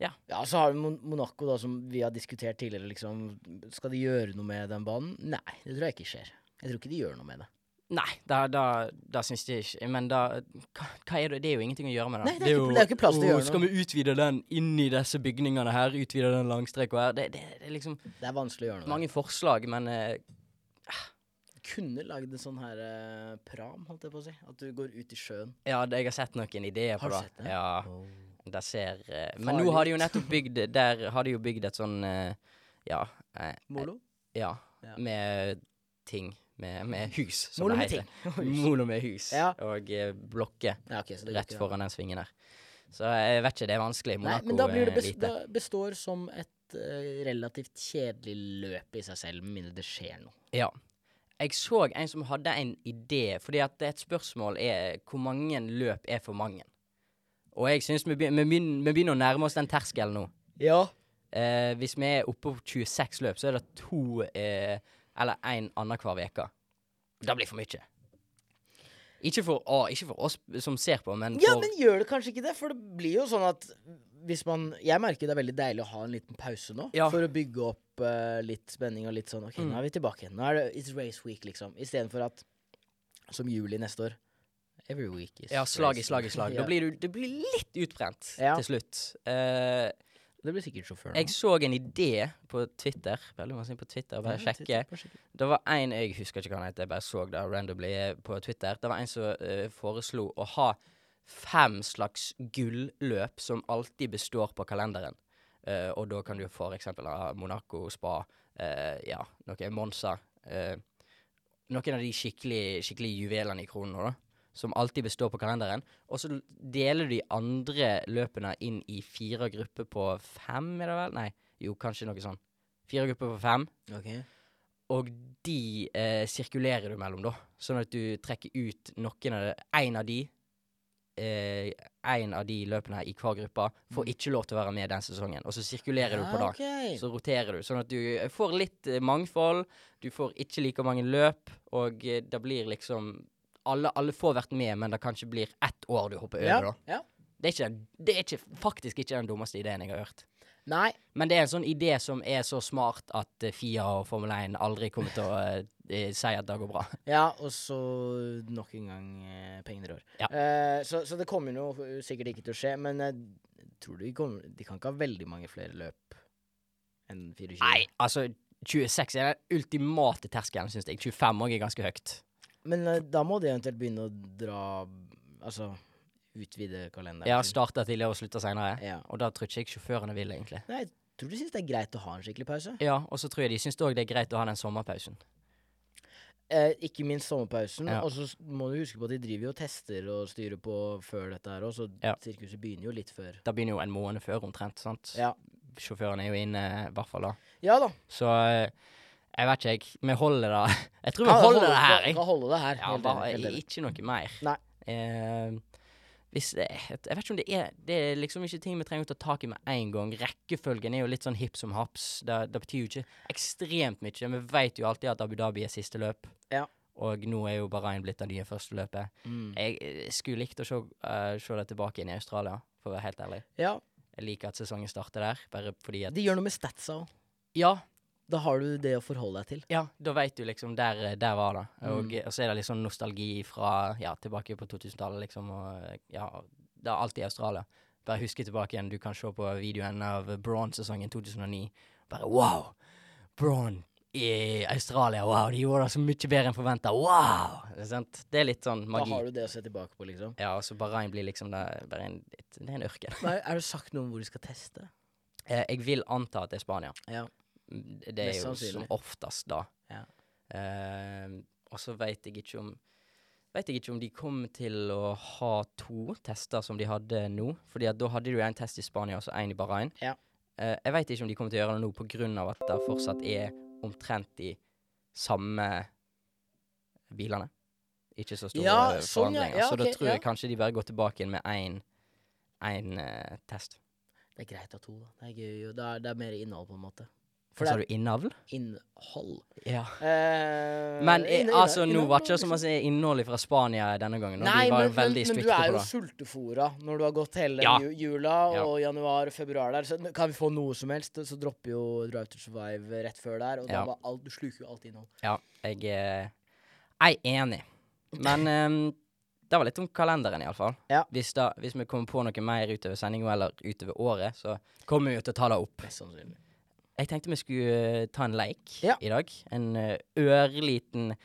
Speaker 5: Ja, så har vi Mon- Monaco, da, som vi har diskutert tidligere, liksom. Skal de gjøre noe med den banen? Nei, det tror jeg ikke skjer. Jeg tror ikke de gjør noe med det.
Speaker 4: Nei, da, da, da syns de ikke Men da hva, hva er det? det er jo ingenting å gjøre med det.
Speaker 5: Nei, det er ikke- det er ikke plass til å
Speaker 4: «Åh,
Speaker 5: gjøre
Speaker 4: Skal vi utvide den inn i disse bygningene her? Utvide den langstreka her? Det, det, det er liksom
Speaker 5: Det er vanskelig å gjøre noe med.
Speaker 4: mange forslag, men eh,
Speaker 5: det. Kunne lagd en sånn her eh, pram, holdt jeg på å si. At du går ut i sjøen.
Speaker 4: ja, det, jeg har sett noen ideer
Speaker 5: Har
Speaker 4: på
Speaker 5: du
Speaker 4: det.
Speaker 5: sett det?
Speaker 4: Ja,
Speaker 5: Oh.
Speaker 4: det ser eh, Men nå har de jo nettopp bygd Der har de jo bygd et sånn eh, Ja. eh,
Speaker 5: Molo?
Speaker 4: ja,
Speaker 5: Ja.
Speaker 4: Med ting. Med, med hus, som
Speaker 5: Molo
Speaker 4: det
Speaker 5: med
Speaker 4: heter.
Speaker 5: ting. [laughs]
Speaker 4: Molo med hus.
Speaker 5: Ja.
Speaker 4: Og eh, blokker.
Speaker 5: Ja, ok, så det går
Speaker 4: rett
Speaker 5: ikke, da.
Speaker 4: foran den svingen der. Så jeg vet ikke, det er vanskelig.
Speaker 5: Nei,
Speaker 4: Monaco
Speaker 5: men da blir det
Speaker 4: eh,
Speaker 5: bes
Speaker 4: lite.
Speaker 5: da består som et eh, relativt kjedelig løp i seg selv, med mindre det skjer noe.
Speaker 4: Ja. Jeg så en som hadde en idé, fordi at et spørsmål er hvor mange løp er for mange? Og jeg syns vi, begyn- vi, begyn- vi begynner å nærme oss den terskelen nå.
Speaker 5: Ja.
Speaker 4: Eh, hvis vi er oppe på 26 løp, så er det to eh, eller én annenhver uke. Det blir for mye. Ikke for, å, ikke for oss som ser på, men
Speaker 5: Ja,
Speaker 4: for
Speaker 5: men gjør det kanskje ikke det? For det blir jo sånn at hvis man Jeg merker det er veldig deilig å ha en liten pause nå,
Speaker 4: Ja. Mm.
Speaker 5: for å bygge opp eh, litt spenning og litt sånn OK, nå er vi tilbake igjen. Nå er det It's race week, liksom. Istedenfor at som juli neste år Every week is
Speaker 4: Ja, slag i
Speaker 5: race
Speaker 4: slag i
Speaker 5: week. [laughs]
Speaker 4: slag.
Speaker 5: Ja.
Speaker 4: Da blir du, du blir litt utbrent
Speaker 5: Ja.
Speaker 4: til slutt. Eh,
Speaker 5: Det blir sikkert sjåføren.
Speaker 4: Jeg så en idé på Twitter. Veldig masse på Twitter, bare sjekke. Det var en jeg husker ikke hva han het, jeg bare så det randomly eh, på Twitter. Det var en som eh, foreslo å ha fem slags gulløp som alltid består på kalenderen. Eh, og da kan du for eksempel ha Monaco, Spa, eh, ja, noe Monza. eh, noen av de skikkelig, skikkelig juvelene i kronene, da. Som alltid består på kalenderen. Og så l- deler du de andre løpene inn i fire grupper på fem, er det vel? Nei, jo, kanskje noe sånn. Fire grupper på fem.
Speaker 5: Ok.
Speaker 4: Og de eh, sirkulerer du mellom, da. Sånn at du trekker ut noen av Én av de. eh, en av de løpene i hver gruppe får ikke lov til å være med den sesongen. Og så sirkulerer du på
Speaker 5: Mm. Ja,
Speaker 4: dag.
Speaker 5: ok.
Speaker 4: Så roterer du, sånn at du eh, får litt eh, mangfold. Du får ikke like mange løp, og eh, det blir liksom alle, alle får vært med, men det kanskje blir ett år du hopper
Speaker 5: ja.
Speaker 4: over, da.
Speaker 5: ja.
Speaker 4: Det er, ikke, det er ikke, faktisk ikke den dummeste ideen jeg har hørt.
Speaker 5: Nei.
Speaker 4: Men det er en sånn idé som er så smart at eh, FIA og Formel 1 aldri kommer til å eh, eh, si at det går bra.
Speaker 5: Ja, og så nok en gang eh, pengene rår.
Speaker 4: Ja.
Speaker 5: Eh, så, så det kommer jo noe sikkert ikke til å skje, men jeg tror du de, kommer, de kan ikke ha veldig mange flere løp enn 24?
Speaker 4: Nei, altså 26 er den ultimate terskelen, syns jeg. 25 òg er ganske høyt.
Speaker 5: Men eh, da må de eventuelt begynne å dra Altså utvide kalenderen.
Speaker 4: Ja,
Speaker 5: sin.
Speaker 4: starter tidligere og slutter seinere.
Speaker 5: ja.
Speaker 4: Og da tror jeg ikke sjåførene vil, egentlig.
Speaker 5: Nei, jeg tror du syns det er greit å ha en skikkelig pause.
Speaker 4: Ja, og så tror jeg de syns òg det er greit å ha den sommerpausen.
Speaker 5: Eh, ikke minst sommerpausen.
Speaker 4: Ja.
Speaker 5: Og så s- må du huske på at de driver jo og tester og styrer på før dette her òg, så
Speaker 4: Ja.
Speaker 5: sirkuset begynner jo litt før.
Speaker 4: Det begynner jo en måned før omtrent, sant?
Speaker 5: Ja.
Speaker 4: sjåføren er jo inne, i hvert fall da.
Speaker 5: Ja da.
Speaker 4: Så eh, jeg vet ikke, jeg. Vi holder det. [laughs] Jeg tror vi
Speaker 5: Ja, da
Speaker 4: holder
Speaker 5: holder-
Speaker 4: det her.
Speaker 5: da-
Speaker 4: Jeg.
Speaker 5: Da holder det her.
Speaker 4: Ja,
Speaker 5: helt
Speaker 4: bare
Speaker 5: enig, helt enig.
Speaker 4: ikke noe mer.
Speaker 5: Nei.
Speaker 4: Eh, hvis det, jeg vet ikke om det er Det er liksom ikke ting vi trenger å ta tak i med en gang. Rekkefølgen er jo litt sånn hipp som haps. Det, det betyr jo ikke ekstremt mye. Vi vet jo alltid at Abu Dhabi er siste løp.
Speaker 5: Ja.
Speaker 4: Og nå er jo Bahrain blitt det nye første løpet.
Speaker 5: Mm.
Speaker 4: Jeg eh, skulle likt å se, eh, se det tilbake inn i Australia, for å være helt ærlig.
Speaker 5: Ja,
Speaker 4: Jeg liker at sesongen starter der, bare fordi at
Speaker 5: De gjør noe med statsa òg.
Speaker 4: Ja,
Speaker 5: Da har du det å forholde deg til.
Speaker 4: ja, da veit du liksom der, der var det.
Speaker 5: Mm.
Speaker 4: Og, og så er det litt sånn nostalgi fra ja, tilbake på 2000-tallet, liksom. Og, ja, det er alltid Australia. Bare huske tilbake igjen. Du kan se på videoen av Braun-sesongen 2009. Bare wow! Braun i Australia, wow! De gjorde det så mye bedre enn forventa. Wow! Det er, sant? Det er litt sånn
Speaker 5: Da
Speaker 4: magi.
Speaker 5: har du det å se tilbake på, liksom.
Speaker 4: Ja, og så Bahrain blir liksom det, bare en, det er en ørken.
Speaker 5: Nei, er det sagt noe om hvor de skal teste?
Speaker 4: Eh, jeg vil anta at det er Spania.
Speaker 5: Ja.
Speaker 4: Det det er
Speaker 5: Mest
Speaker 4: jo som
Speaker 5: sannsynlig.
Speaker 4: oftest da.
Speaker 5: Ja.
Speaker 4: Eh, og så veit jeg ikke om Vet jeg ikke om de kom til å ha to tester som de hadde nå. Fordi at da hadde de jo en test i Spania og så en i Bahrain.
Speaker 5: Ja.
Speaker 4: Eh, jeg veit ikke om de kommer til å gjøre det nå på grunn av at det fortsatt er omtrent de samme bilene. Ikke så store
Speaker 5: Ja,
Speaker 4: eh,
Speaker 5: sånn, ja.
Speaker 4: forandringer.
Speaker 5: Ja,
Speaker 4: så da
Speaker 5: ok,
Speaker 4: tror jeg
Speaker 5: ja.
Speaker 4: kanskje de bare går tilbake igjen med én test.
Speaker 5: Det er greit å ha to, da. Det er gøy. og Det er, det er mer innhold, på en måte.
Speaker 4: For
Speaker 5: det
Speaker 4: Sa
Speaker 5: er
Speaker 4: du innavl?
Speaker 5: innhold.
Speaker 4: Ja.
Speaker 5: Eh,
Speaker 4: Men eh,
Speaker 5: inne-
Speaker 4: altså,
Speaker 5: inne-
Speaker 4: nå
Speaker 5: inne-
Speaker 4: var ikke det som å si innholdet fra Spania denne gangen. og
Speaker 5: Nei,
Speaker 4: de var
Speaker 5: men,
Speaker 4: jo
Speaker 5: men,
Speaker 4: veldig
Speaker 5: men
Speaker 4: spytt
Speaker 5: du
Speaker 4: på
Speaker 5: er jo
Speaker 4: det.
Speaker 5: sultefora når du har gått hele
Speaker 4: Ja.
Speaker 5: ju- jula
Speaker 4: Ja.
Speaker 5: og januar og februar der. Så n- kan vi få noe som helst, så dropper jo Drive to Survive rett før der. Og
Speaker 4: Ja.
Speaker 5: da var alt, du sluker jo alt innhold.
Speaker 4: Ja, jeg eh, jeg er enig. Men eh, det var litt om kalenderen, iallfall.
Speaker 5: Ja.
Speaker 4: Hvis, da- hvis vi kommer på noe mer utover sendinga eller utover året, så kommer vi jo til å ta det opp.
Speaker 5: Mest sannsynlig.
Speaker 4: Jeg tenkte vi skulle eh, ta en leik
Speaker 5: Ja.
Speaker 4: i dag. En eh, ørliten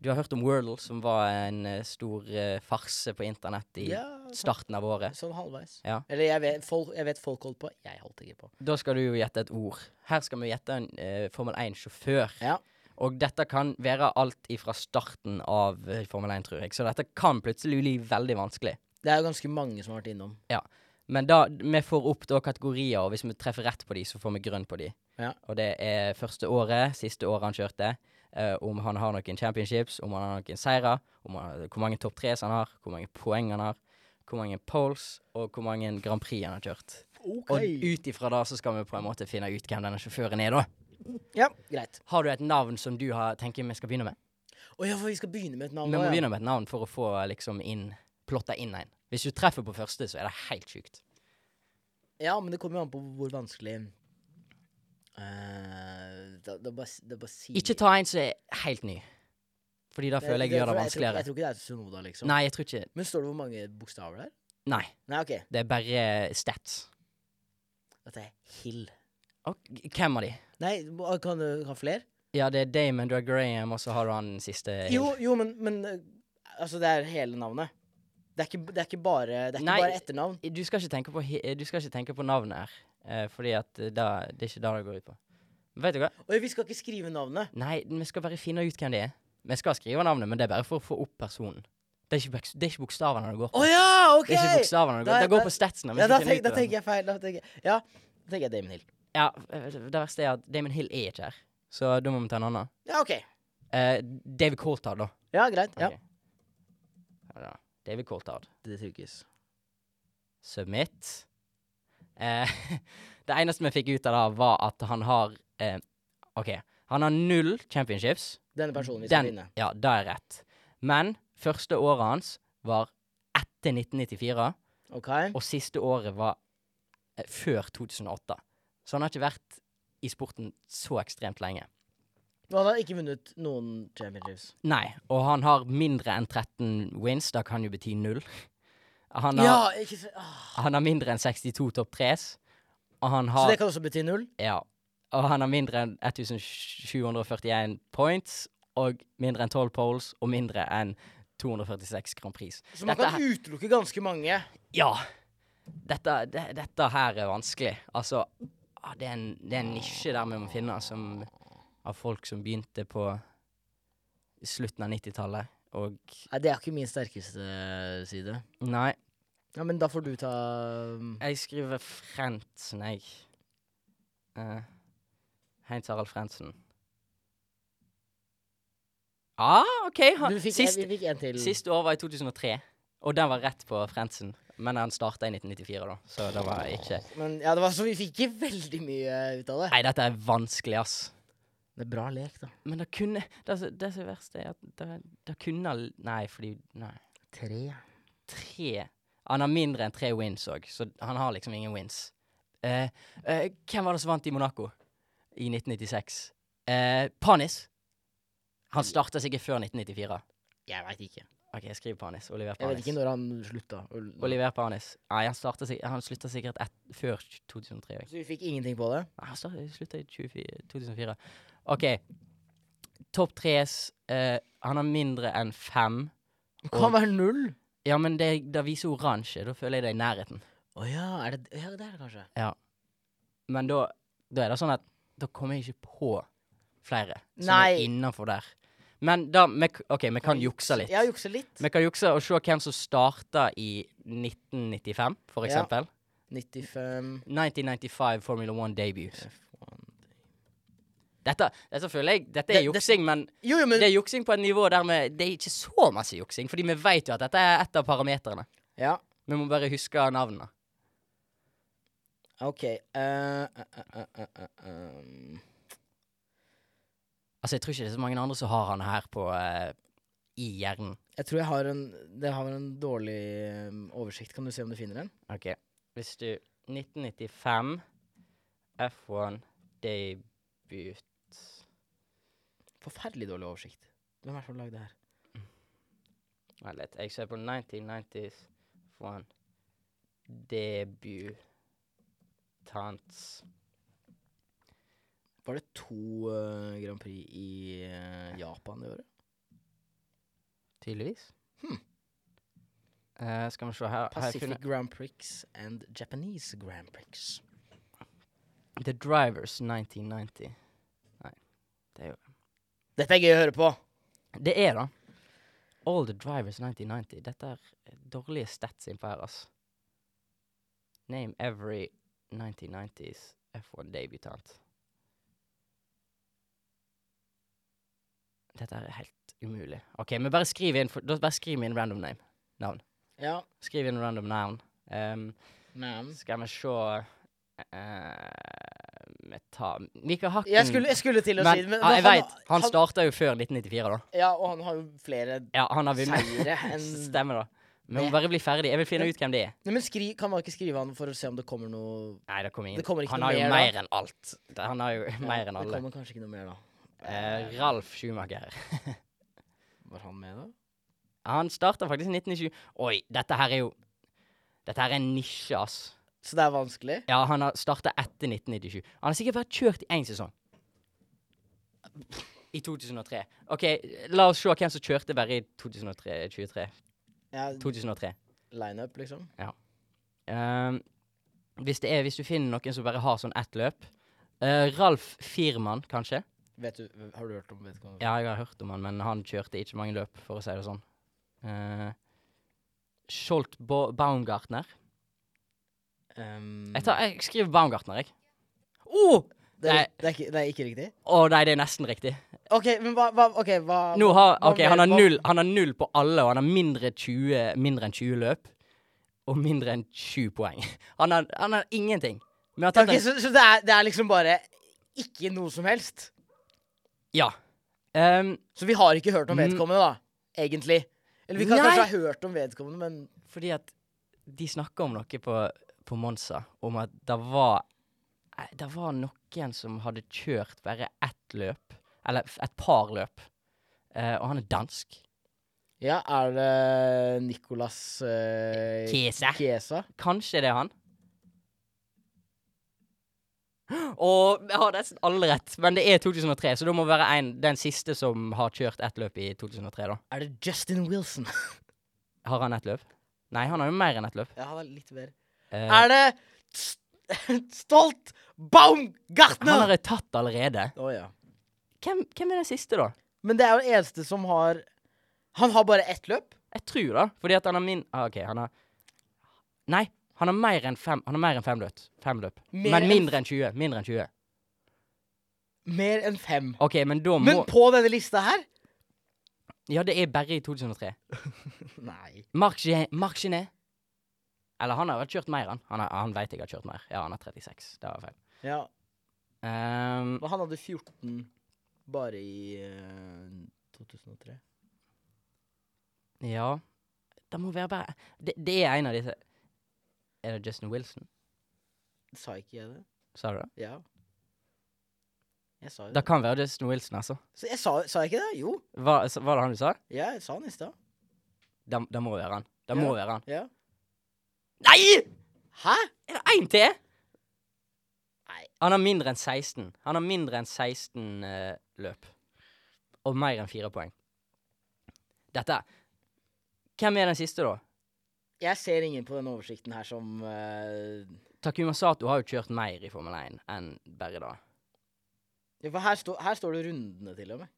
Speaker 4: Du har hørt om Wordle, som var en eh, stor eh, farse på internett i
Speaker 5: Ja,
Speaker 4: starten av året.
Speaker 5: sånn halvveis.
Speaker 4: Ja.
Speaker 5: Eller jeg vet, folk, jeg vet folk holdt på. Jeg holdt ikke på.
Speaker 4: Da skal du jo gjette et ord. Her skal vi gjette en eh, Formel 1-sjåfør.
Speaker 5: Ja.
Speaker 4: Og dette kan være alt ifra starten av eh, Formel 1, tror jeg. Så dette kan plutselig bli veldig vanskelig.
Speaker 5: Det er jo ganske mange som har vært innom.
Speaker 4: Men da, vi får opp da kategorier, og hvis vi treffer rett på de, så får vi grønn på de.
Speaker 5: Ja.
Speaker 4: Og det er første året, siste året han kjørte, eh, om han har noen championships, om han har noen seirer, om han, hvor mange topp tres han har, hvor mange poeng han har, hvor mange poles, og hvor mange Grand Prix han har kjørt. Og ut ifra det så skal vi på en måte finne ut hvem denne sjåføren er, da.
Speaker 5: Ja, greit.
Speaker 4: Har du et navn som du har, tenker vi skal begynne med?
Speaker 5: Å ja, for vi skal begynne med et
Speaker 4: Vi
Speaker 5: navn.
Speaker 4: må
Speaker 5: nå, ja.
Speaker 4: begynne med et navn for å få liksom inn plotta inn en. Hvis du treffer på første, så er det helt sjukt.
Speaker 5: Ja, men det kommer jo an på hvor vanskelig Eh, da, da bare, s- da bare sier
Speaker 4: Ikke ta en som er helt ny. Fordi da
Speaker 5: Det-
Speaker 4: føler jeg gjør det
Speaker 5: tror-
Speaker 4: vanskeligere.
Speaker 5: Jeg tror, jeg tror ikke det er Sunoda, liksom.
Speaker 4: Nei, jeg tror ikke
Speaker 5: Men står det hvor mange bokstaver der?
Speaker 4: Nei.
Speaker 5: Nei, OK.
Speaker 4: Det er bare stats.
Speaker 5: Dette er Hill.
Speaker 4: Og hvem av de?
Speaker 5: Nei, må- kan du ha flere?
Speaker 4: Ja, det er Damon Drag Graham, og så har du han siste
Speaker 5: Jo, jo, men, men eh, Altså, det er hele navnet. Det er ikke, det er ikke bare Det er ikke
Speaker 4: Nei.
Speaker 5: bare etternavn.
Speaker 4: Du skal ikke tenke på, he- du skal ikke tenke på navnet her, eh, fordi at eh, da, det er ikke det det går ut på. Men vet du hva?
Speaker 5: Og vi skal ikke skrive navnet.
Speaker 4: Nei, vi skal bare finne ut hvem det er. Vi skal skrive navnet, men det er bare for å få opp personen. Det er ikke, bok- det er ikke bokstavene det går
Speaker 5: Å
Speaker 4: på.
Speaker 5: ja, OK!
Speaker 4: Det er ikke bokstavene det går
Speaker 5: Da-
Speaker 4: Det går
Speaker 5: da-
Speaker 4: på statsene. vi
Speaker 5: ja, da,
Speaker 4: skal finne
Speaker 5: tenk,
Speaker 4: ut
Speaker 5: da
Speaker 4: av det.
Speaker 5: tenker jeg feil. Da tenker jeg, ja, da tenker jeg Damon Hill.
Speaker 4: Ja, eh, Det verste er at Damon Hill er ikke her, så da må vi ta en annen.
Speaker 5: Ja, OK.
Speaker 4: Eh, David Coulthard, da.
Speaker 5: Ja, greit. Ja.
Speaker 4: Ok. Ja, da. David Coulthard.
Speaker 5: Det trykkes.
Speaker 4: Submit. Eh, [laughs] det eneste vi fikk ut av det, var at han har eh, OK. Han har null championships.
Speaker 5: Denne personen vi skal
Speaker 4: Den,
Speaker 5: finne.
Speaker 4: ja, det er rett. Men første året hans var etter 1994,
Speaker 5: OK?
Speaker 4: og siste året var eh, før 2008. Så han har ikke vært i sporten så ekstremt lenge.
Speaker 5: Og han har ikke vunnet noen championships.
Speaker 4: Nei, og han har mindre enn 13 wins. Det kan jo bety null. Han har,
Speaker 5: Ja, ikke så, ah.
Speaker 4: han har mindre enn 62 topp tres. Og han
Speaker 5: så
Speaker 4: har
Speaker 5: det kan også bety null?
Speaker 4: Ja. Og han har mindre enn 1741 points, og mindre enn 12 poles, og mindre enn 246 Grand Prix.
Speaker 5: Så man
Speaker 4: Dette
Speaker 5: kan
Speaker 4: her-
Speaker 5: utelukke ganske mange.
Speaker 4: Ja! Dette, de, dette her er vanskelig. Altså, ah, det er, en, det er en nisje der vi må finne, som, av folk som begynte på slutten av 90-tallet, og
Speaker 5: Nei, Det er ikke min sterkeste side.
Speaker 4: Nei,
Speaker 5: Ja, Men da får du ta mm,
Speaker 4: jeg skriver Frentsen, jeg. Eh, Heinz Harald Frensen. Ah, OK. Han,
Speaker 5: Du fikk,
Speaker 4: sist,
Speaker 5: vi fikk en til.
Speaker 4: Sist år var i 2003, og den var rett på Frensen. Men han starta i 1994, da, så det var ikke
Speaker 5: Men ja, det var så vi fikk ikke veldig mye ut av det.
Speaker 4: Nei, dette er vanskelig, ass.
Speaker 5: Det er bra lek, da.
Speaker 4: Men det kunne Det, som- det som er verst, er at det, det kunne al- Nei, fordi Nei.
Speaker 5: Tre.
Speaker 4: Tre Han har mindre enn tre wins òg, så han har liksom ingen wins. Eh, eh, hvem var det som vant i Monaco i 1996? Eh, Panis. Han starta sikkert før 1994.
Speaker 5: Jeg veit ikke.
Speaker 4: OK, skriv Panis. Oliver
Speaker 5: Jeg vet
Speaker 4: Panis.
Speaker 5: ikke når han slutta. å-
Speaker 4: Oliver Panis. Nei, han, startet sik- han slutta sikkert et, før 2003.
Speaker 5: Så vi fikk ingenting på det.
Speaker 4: Nei, Han startet- slutta i 24 2004. OK. Topp tres eh, Han har mindre enn fem.
Speaker 5: Det kan være null.
Speaker 4: Ja, men det, det viser oransje. Da føler jeg det er i nærheten.
Speaker 5: Å ja, er det ja, det er det kanskje?
Speaker 4: Men da, da er det sånn at da kommer jeg ikke på flere som
Speaker 5: Nei.
Speaker 4: er innafor der. Men da vi, k- OK, vi kan jukse litt.
Speaker 5: Ja, jukse litt.
Speaker 4: Vi kan jukse og se hvem som starta i 1995, for
Speaker 5: Ja.
Speaker 4: eksempel.
Speaker 5: 95
Speaker 4: 1995 Formula One debut.
Speaker 5: F1.
Speaker 4: Dette, dette føler jeg Dette er
Speaker 5: Det- det-
Speaker 4: juksing, men
Speaker 5: Jo, jo, men
Speaker 4: det er juksing på et nivå der vi Det er ikke så masse juksing, fordi vi vet jo at dette er et av parameterne.
Speaker 5: Ja,
Speaker 4: Vi må bare huske navnene.
Speaker 5: OK. eh, eh, eh, eh, eh, ehm.
Speaker 4: Altså, jeg tror ikke det er så mange andre som har han her på eh, i hjernen.
Speaker 5: Jeg tror jeg har en Det har en dårlig ehm, oversikt. Kan du se om du finner en?
Speaker 4: OK. Hvis du 1995 F1 debut
Speaker 5: Forferdelig dårlig oversikt. Hvem er det som har lagd det her?
Speaker 4: Vent litt. Jeg ser på 1990s F1 debutants.
Speaker 5: Var det to eh, Grand Prix i eh, Japan i året?
Speaker 4: Tydeligvis. Hm. Eh, skal vi se her. her
Speaker 5: Pacific Grand Prix and Japanese Grand Prix.
Speaker 4: The Drivers 1990. Nei, det er jo
Speaker 5: Dette er gøy å høre på!
Speaker 4: Det er da. All the drivers 1990. Dette er dårlige stats innpå her, ass. Name every 1990s F1 debutant. Dette er helt umulig. Ok, men bare skriv inn, for, da bare skriv inn random name. Navn.
Speaker 5: Ja.
Speaker 4: Skriv inn random navn. Um,
Speaker 5: Men
Speaker 4: skal vi se eh, vi tar Mikael Hakken
Speaker 5: Jeg skulle, jeg skulle til å
Speaker 4: Mm. men,
Speaker 5: si det, men
Speaker 4: ja, jeg
Speaker 5: han-
Speaker 4: vet, Han
Speaker 5: han-
Speaker 4: starta jo før 1994, da.
Speaker 5: Ja, og han har jo flere
Speaker 4: Ja, han har vunnet. [laughs]
Speaker 5: seire enn
Speaker 4: Stemmer, da. Vi må
Speaker 5: Det-
Speaker 4: bare bli ferdig. Jeg vil finne
Speaker 5: Men-
Speaker 4: ut hvem det er.
Speaker 5: Nei, men skri, Kan man ikke skrive han for å se om det kommer noe
Speaker 4: Nei, det kommer ingen.
Speaker 5: Det kommer ikke
Speaker 4: han
Speaker 5: noe
Speaker 4: har jo
Speaker 5: mer, da.
Speaker 4: mer enn alt. Det- Han har jo mer enn
Speaker 5: Ja,
Speaker 4: alle.
Speaker 5: Det kommer kanskje ikke noe mer, da.
Speaker 4: Eh, Ralf Schumacher. [laughs]
Speaker 5: Var han med, da?
Speaker 4: Han starta faktisk i 1997. Oi, dette her er jo Dette her er en nisje, ass.
Speaker 5: Så det er vanskelig?
Speaker 4: Ja, han har starta etter 1997. Han har sikkert vært kjørt i én sesong. I 2003. OK, la oss se hvem som kjørte bare i 2003. 23.
Speaker 5: Ja,
Speaker 4: 2003.
Speaker 5: Lineup, liksom?
Speaker 4: Ehm, hvis, det er, hvis du finner noen som bare har sånn ett løp eh, Ralf Firman, kanskje?
Speaker 5: Vet du, har du hørt om vedkommende?
Speaker 4: Ja, jeg har hørt om han, men han kjørte ikke mange løp, for å si det sånn. Eh, Scholt Bo Baumgartner.
Speaker 5: Um,
Speaker 4: Jeg, tar, jeg skriver Baumgartner, jeg. Å! Oh!
Speaker 5: Ehm, det, er,
Speaker 4: Nei.
Speaker 5: det, er ikke, det er ikke riktig?
Speaker 4: nei, det er nesten riktig.
Speaker 5: OK, men hva, hva, ok, hva
Speaker 4: Nå har,
Speaker 5: hva
Speaker 4: ok,
Speaker 5: mer-
Speaker 4: han, har
Speaker 5: hva-
Speaker 4: null, han har null på alle, og han har mindre, 20, mindre enn 20 løp. Og mindre enn 20 poeng. Han har, han har ingenting. Men at
Speaker 5: Ok,
Speaker 4: dette-
Speaker 5: så, så det, er, det er liksom bare ikke noe som helst?
Speaker 4: Ja. Ehm,
Speaker 5: Så vi har ikke hørt om
Speaker 4: Mm.
Speaker 5: vedkommende, da? Egentlig. Eller vi kan
Speaker 4: Nei.
Speaker 5: kanskje ha hørt om vedkommende, men
Speaker 4: Fordi at de snakka om noe på, på Monza, om at det var eh, Det var noen som hadde kjørt bare ett løp, eller f- et par løp, eh, og han er dansk.
Speaker 5: Ja, er det Nicolas eh,
Speaker 4: Kiese.
Speaker 5: Kiesa?
Speaker 4: Kanskje det er han. Og jeg har nesten alle rett, men det er 2003, så da må være en, den siste som har kjørt ett løp i 2003, da.
Speaker 5: Er det Justin Wilson?
Speaker 4: Har han ett løp? Nei, han har jo mer enn ett løp.
Speaker 5: [laughs] Ja, det er litt mer.
Speaker 4: Eh,
Speaker 5: Er det st- [laughs] Stolt
Speaker 4: han
Speaker 5: Baumgartner?
Speaker 4: har jeg tatt allerede.
Speaker 5: Å ja.
Speaker 4: Hvem, hvem er den siste, da?
Speaker 5: Men det er jo den eneste som har Han har bare ett løp.
Speaker 4: Jeg tror det, fordi at han har min ah, OK, han har Nei, han har mer enn fem, han har mer enn fem løp. Fem løp.
Speaker 5: Mer
Speaker 4: Men
Speaker 5: enn
Speaker 4: mindre enn 20. Mindre enn 20.
Speaker 5: Mer enn fem.
Speaker 4: OK, men da må
Speaker 5: Men på denne lista her?
Speaker 4: Ja, det er bare i 2003.
Speaker 5: [laughs] Nei.
Speaker 4: Marc Ge- Marc Genet. Eller han har vel kjørt mer, han. Han, har- han veit jeg har kjørt mer. Ja, han er 36. Det var feil.
Speaker 5: Ja,
Speaker 4: Ehm,
Speaker 5: men han hadde 14 bare i eh, 2003.
Speaker 4: ja Det må være bare det, det er en av disse Er det Justin Wilson?
Speaker 5: Sa ikke jeg det?
Speaker 4: Sa du det?
Speaker 5: Ja. Jeg sa jo
Speaker 4: Det
Speaker 5: det.
Speaker 4: kan være Justin Wilson, altså.
Speaker 5: Så jeg sa, sa jeg ikke det? Jo.
Speaker 4: Hva, s- var det han du sa?
Speaker 5: Ja, jeg sa han i stad.
Speaker 4: Det, det må være han. Det må være han.
Speaker 5: Ja.
Speaker 4: Nei!
Speaker 5: Hæ?
Speaker 4: Er det én til?
Speaker 5: Nei.
Speaker 4: Han har mindre enn 16. Han har mindre enn 16 eh, løp. Og mer enn fire poeng. Dette Hvem er den siste, da?
Speaker 5: Jeg ser ingen på denne oversikten her som eh,
Speaker 4: Takuma Sato har jo kjørt mer i Formel 1 enn bare da.
Speaker 5: ja, For her, står- her står det rundene, til og med.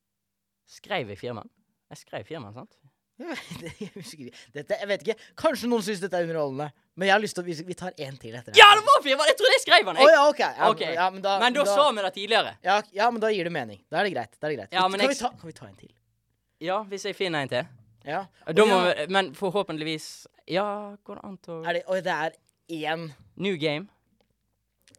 Speaker 5: [laughs]
Speaker 4: Skrev jeg firmann? Jeg skrev firmann, sant?
Speaker 5: Jeg vet- jeg husker ikke. Dette, jeg vet ikke. Kanskje noen syns dette er underholdende, men jeg har lyst til å Vi, vi tar én til etter det.
Speaker 4: Ja, det var firmann! Jeg trodde jeg skrev han!
Speaker 5: Å
Speaker 4: Jeg.
Speaker 5: ja, ok. Ja,
Speaker 4: Ok.
Speaker 5: Ja, men da,
Speaker 4: Men da sa vi det tidligere.
Speaker 5: ja, ja, men da gir det mening. Da er det greit. Da er det greit.
Speaker 4: Ja,
Speaker 5: Vi-
Speaker 4: men
Speaker 5: kan,
Speaker 4: jeg-
Speaker 5: vi ta, kan vi ta en til?
Speaker 4: Ja, hvis jeg finner en til.
Speaker 5: Ja.
Speaker 4: Da må
Speaker 5: ja.
Speaker 4: vi, men forhåpentligvis Ja, går det an til å
Speaker 5: Er det, oi, det er én
Speaker 4: New game.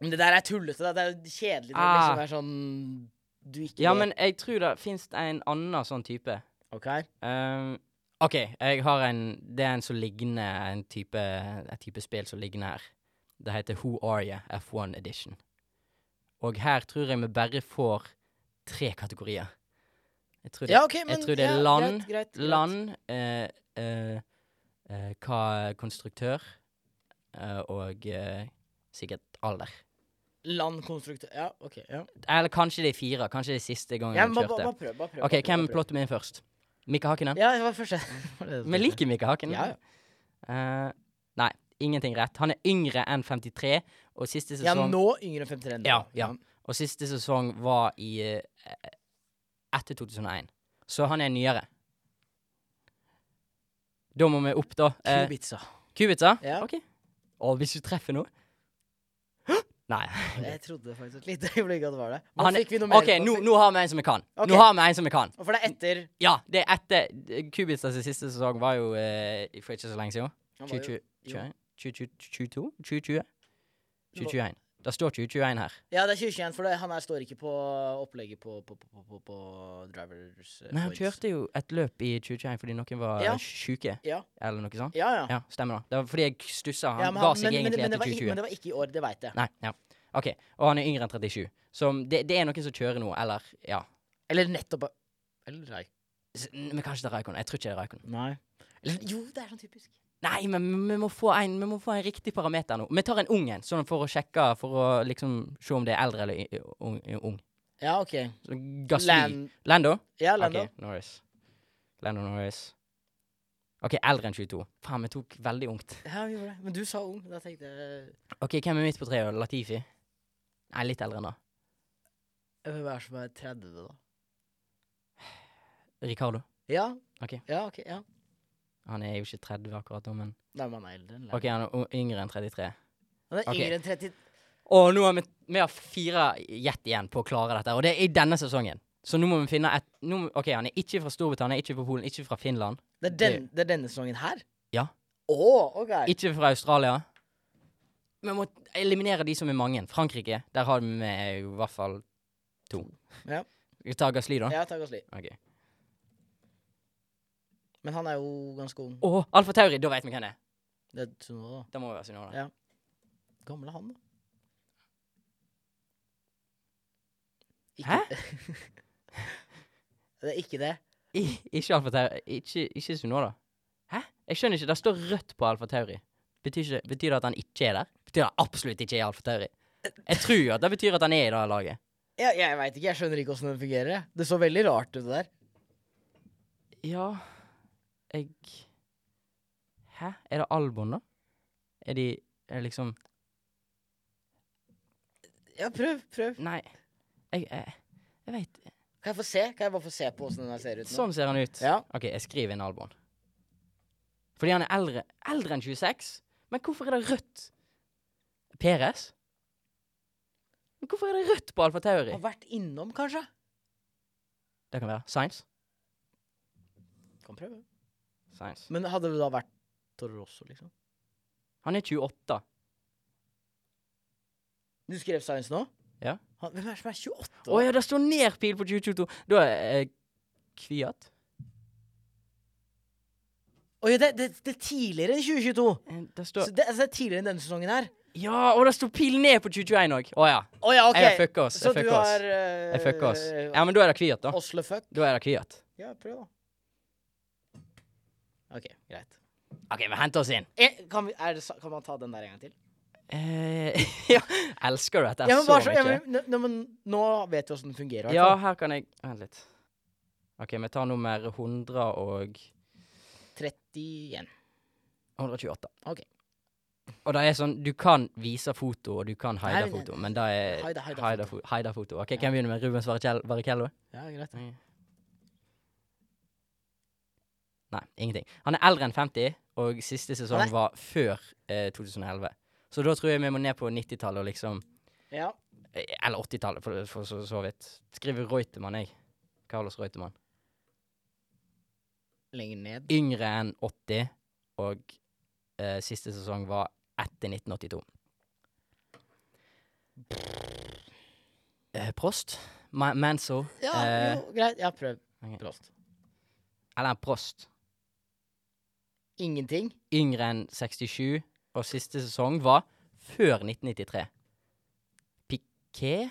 Speaker 5: Men det der er tullete. da. Det er jo kjedelig når
Speaker 4: Ah.
Speaker 5: det liksom er sånn Du ikke
Speaker 4: Ja,
Speaker 5: vet.
Speaker 4: men jeg tror det fins en annen sånn type.
Speaker 5: OK.
Speaker 4: Ehm, OK, jeg har en Det er en som ligner en type Et type spill som ligner her. Det heter Who Are You? F1 Edition. Og her tror jeg vi bare får tre kategorier. Jeg tror det,
Speaker 5: Ja, ok, men
Speaker 4: jeg tror det er
Speaker 5: ja,
Speaker 4: land,
Speaker 5: greit, greit, greit.
Speaker 4: land eh, eh, eh, hva konstruktør eh, og eh, sikkert alder.
Speaker 5: Landkonstruktør Ja, OK. Ja.
Speaker 4: Eller kanskje det er fire. Kanskje det er siste gangen
Speaker 5: ja
Speaker 4: jeg
Speaker 5: men bare,
Speaker 4: kjørte.
Speaker 5: bare prøv. Bare prøv
Speaker 4: OK,
Speaker 5: bare prøv,
Speaker 4: hvem
Speaker 5: bare prøv.
Speaker 4: plotter vi inn først? Mika Hakkinen?
Speaker 5: Ja, det var
Speaker 4: [laughs]
Speaker 5: første. Var [laughs] det det
Speaker 4: Vi liker Mika Hakkinen.
Speaker 5: Ja, ja.
Speaker 4: Eh, nei, ingenting rett. Han er yngre enn 53, og siste
Speaker 5: Ja,
Speaker 4: sesong,
Speaker 5: nå yngre enn 53. enn
Speaker 4: Ja,
Speaker 5: da.
Speaker 4: ja. og siste sesong var i eh, etter 2001. Så han er nyere. Da må vi opp, da. Eh, [laughs]
Speaker 5: Kubica.
Speaker 4: Kubica?
Speaker 5: Ja.
Speaker 4: OK. Og hvis du treffer noe [gasps] Nei.
Speaker 5: [laughs] Jeg trodde faktisk et lite øyeblikk at det var det. Nå
Speaker 4: Han er-
Speaker 5: fikk vi noe mer.
Speaker 4: OK,
Speaker 5: på-
Speaker 4: nå, nå har vi en som vi kan.
Speaker 5: Ok.
Speaker 4: Nå har vi en som vi kan.
Speaker 5: Og For det er etter
Speaker 4: Ja, det er etter Kubicas siste sesong var jo eh, for ikke så lenge siden.
Speaker 5: Han var jo-
Speaker 4: 2021?
Speaker 5: jo.
Speaker 4: 2022? 2020? 2021. Det står 2021 her.
Speaker 5: Ja, det er 2021, for det, han her står ikke på opplegget på, på, på, på, på, på drivers eh,
Speaker 4: Nei, han
Speaker 5: points.
Speaker 4: kjørte jo et løp i 2021 fordi noen var
Speaker 5: Ja.
Speaker 4: syke,
Speaker 5: Ja,
Speaker 4: eller noe sånt.
Speaker 5: ja. ja.
Speaker 4: Ja, stemmer det. Det var fordi jeg stussa. Han
Speaker 5: Ja, men
Speaker 4: ga
Speaker 5: han-
Speaker 4: seg
Speaker 5: men, men,
Speaker 4: egentlig
Speaker 5: men, det var,
Speaker 4: etter
Speaker 5: ikke-
Speaker 4: 2020.
Speaker 5: men det var ikke i år, det veit jeg.
Speaker 4: Nei, ja. OK. Og han er yngre enn 37. Så det, det er noen som kjører noe, eller ja.
Speaker 5: Eller nettopp Eller nei.
Speaker 4: S- Men kanskje det er Raikon. Jeg tror ikke det er Raikon.
Speaker 5: Nei. Eller, jo, det er sånn typisk.
Speaker 4: Nei, men vi må, få en, vi må få en riktig parameter nå. Vi tar en ung en, sånn for å sjekke, for å liksom se om det er eldre eller y- ung. ung.
Speaker 5: Ja, OK.
Speaker 4: Så Gasly.
Speaker 5: Land,
Speaker 4: Lando?
Speaker 5: ja, Lando.
Speaker 4: Ok, Norris. Lando Norris. Ok, eldre enn 22. Faen, vi tok veldig ungt.
Speaker 5: Ja, vi gjorde det. Men du sa ung. Da tenkte jeg eh,
Speaker 4: Ok, hvem er midt på treet? Latifi? Nei, litt eldre enn da.
Speaker 5: Hvem er det som er 30, da?
Speaker 4: Ricardo.
Speaker 5: Ja.
Speaker 4: Ok.
Speaker 5: Ja, ok, ja.
Speaker 4: Han er jo ikke 30 akkurat nå, men
Speaker 5: Nei, men han er eldre enn Lando.
Speaker 4: Ok, han er u- yngre enn 33.
Speaker 5: Han er
Speaker 4: ok.
Speaker 5: yngre enn 30
Speaker 4: Og nå har vi, vi har fire gjett igjen på å klare dette, og det er i denne sesongen. Så nå må vi finne et nå, må- Ok, han er ikke fra Storbritannia, ikke fra Polen, ikke fra Finland.
Speaker 5: Det er, den, det er denne sesongen her?
Speaker 4: Ja.
Speaker 5: Å, ok.
Speaker 4: Ikke fra Australia. Vi må eliminere de som er mange. Frankrike, der har vi i hvert fall to.
Speaker 5: Ja.
Speaker 4: Skal vi ta Gasly, da?
Speaker 5: ja, takk og sli.
Speaker 4: Ok.
Speaker 5: Men han er jo ganske ung.
Speaker 4: Å, Alfa Tauri, da vet vi hvem det er.
Speaker 5: Det er Tsunoda, da.
Speaker 4: Det må jo være Sunnova.
Speaker 5: Ja. Gamle han, da. Hæ? [laughs] det er ikke det.
Speaker 4: I- Ikke Alfa Tauri. Ikke, ikke Sunnova. Hæ? Jeg skjønner ikke. Det står rødt på Alfa Tauri. Betyr, ikke, betyr det at han ikke er der? Betyr det at han absolutt ikke er i Alfa Tauri? Jeg tror jo at det betyr at han er i det laget.
Speaker 5: Jeg, jeg veit ikke. Jeg skjønner ikke åssen det fungerer. jeg. Det så veldig rart ut, det der.
Speaker 4: Ja Jeg Hæ? Er det Albon, da? Er de er liksom
Speaker 5: Ja, prøv, prøv.
Speaker 4: Nei. Jeg, jeg, jeg veit
Speaker 5: Kan jeg få se? Kan jeg bare få se på åssen den her ser ut nå?
Speaker 4: Sånn ser han ut.
Speaker 5: Ja.
Speaker 4: OK, jeg skriver inn Albon. Fordi han er eldre, eldre enn 26. Men hvorfor er det rødt? Peres? Men hvorfor er det rødt på Alfa Tauri?
Speaker 5: Har vært innom, kanskje?
Speaker 4: Det kan være Science.
Speaker 5: Kan prøve.
Speaker 4: Science.
Speaker 5: Men hadde det da vært Toro Rosso, liksom?
Speaker 4: Han er 28.
Speaker 5: Du skrev Science nå?
Speaker 4: Ja.
Speaker 5: Han, hvem er det som er 28?
Speaker 4: Å ja, det står ned pil på 2022. Da er eh, Kviat.
Speaker 5: Oi, det, det, det er tidligere enn 2022.
Speaker 4: Eh, Det
Speaker 5: Så
Speaker 4: står
Speaker 5: det, altså, det er tidligere enn denne sesongen her.
Speaker 4: Ja, og det står pil ned på 2021 òg. Å ja.
Speaker 5: Å ja,
Speaker 4: Jeg
Speaker 5: OK.
Speaker 4: fucker oss.
Speaker 5: Så
Speaker 4: Jeg
Speaker 5: du
Speaker 4: fucker oss.
Speaker 5: har eh,
Speaker 4: Jeg fucker oss. Ja, men da er det Kviat, da.
Speaker 5: Oslo fuck.
Speaker 4: Da er det Kviat.
Speaker 5: Ja, prøv, da. OK, greit.
Speaker 4: OK, vi henter oss inn.
Speaker 5: Eh, Kan, vi, er det, sa- kan man ta den der en gang til?
Speaker 4: Eh, [laughs] ja, elsker du dette
Speaker 5: Ja, men
Speaker 4: så
Speaker 5: bare så, ja,
Speaker 4: mye?
Speaker 5: men, nå, men, nå vet vi åssen den fungerer. i hvert
Speaker 4: Ja,
Speaker 5: fall.
Speaker 4: her kan jeg Vent litt. OK, vi tar nummer 100 og
Speaker 5: 31.
Speaker 4: 128.
Speaker 5: Ok.
Speaker 4: Og det er sånn, du kan vise foto, og du kan hide
Speaker 5: Nei, nei,
Speaker 4: foto, men det er
Speaker 5: Hide- hide
Speaker 4: hide
Speaker 5: foto.
Speaker 4: fo- hide foto. Ok, Hvem begynner med Rubens Barrichello- Barrichello?
Speaker 5: Ja, greit.
Speaker 4: Nei, ingenting. Han er eldre enn 50, og siste sesong
Speaker 5: Han er-
Speaker 4: var før eh, 2011. Så da tror jeg vi må ned på 90-tallet og liksom
Speaker 5: Ja.
Speaker 4: eh, Eller 80-tallet, for, for så, så vidt. Skriver Reutemann, jeg. Carlos Reutemann.
Speaker 5: Lenger ned.
Speaker 4: Yngre enn 80, og eh, siste sesong var etter 1982. Eh, Prost? Ma Manso?
Speaker 5: Ja,
Speaker 4: Eh,
Speaker 5: jo, greit. Ja, prøv.
Speaker 4: ok.
Speaker 5: Prost.
Speaker 4: Eller Prost.
Speaker 5: Ingenting.
Speaker 4: Yngre enn 67, og siste sesong var før 1993. Piquet?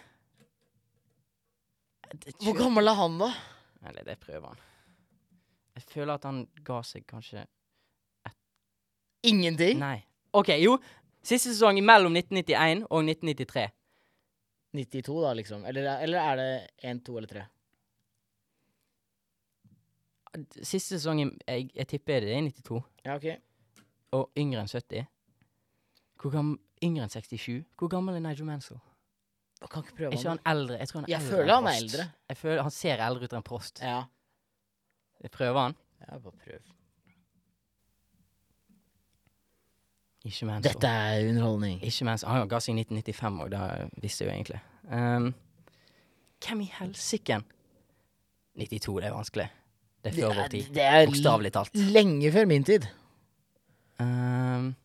Speaker 4: Eh, Det-
Speaker 5: Hvor gammel er han, da?
Speaker 4: Eller, det prøver han. Jeg føler at han ga seg kanskje
Speaker 5: Ingenting.
Speaker 4: Nei. OK, jo. Siste sesong mellom 1991 og 1993.
Speaker 5: 92, da, liksom. Eller, eller er det 1, 2 eller 3?
Speaker 4: Siste sesong i- jeg, jeg tipper det er 92.
Speaker 5: Ja, OK.
Speaker 4: Og yngre enn 70. Hvor gammel, yngre enn 67. Hvor gammel er Nigel Mansell?
Speaker 5: Jeg kan ikke
Speaker 4: Er
Speaker 5: prøve
Speaker 4: ikke han eldre? Jeg tror han er
Speaker 5: Jeg
Speaker 4: eldre
Speaker 5: føler
Speaker 4: enn
Speaker 5: han er
Speaker 4: Prost.
Speaker 5: eldre.
Speaker 4: Jeg føler Han ser eldre ut enn Prost.
Speaker 5: Ja.
Speaker 4: Jeg prøver han.
Speaker 5: ja, bare prøv.
Speaker 4: Ikke Mansell.
Speaker 5: Dette er underholdning.
Speaker 4: Ikke mens Han ga seg i 1995 òg, det visste jeg jo egentlig. Ehm, hvem i helsiken? 92, det er vanskelig. Det er før vår tid.
Speaker 5: det er
Speaker 4: Bokstavelig talt.
Speaker 5: lenge før min tid.
Speaker 4: Ehm,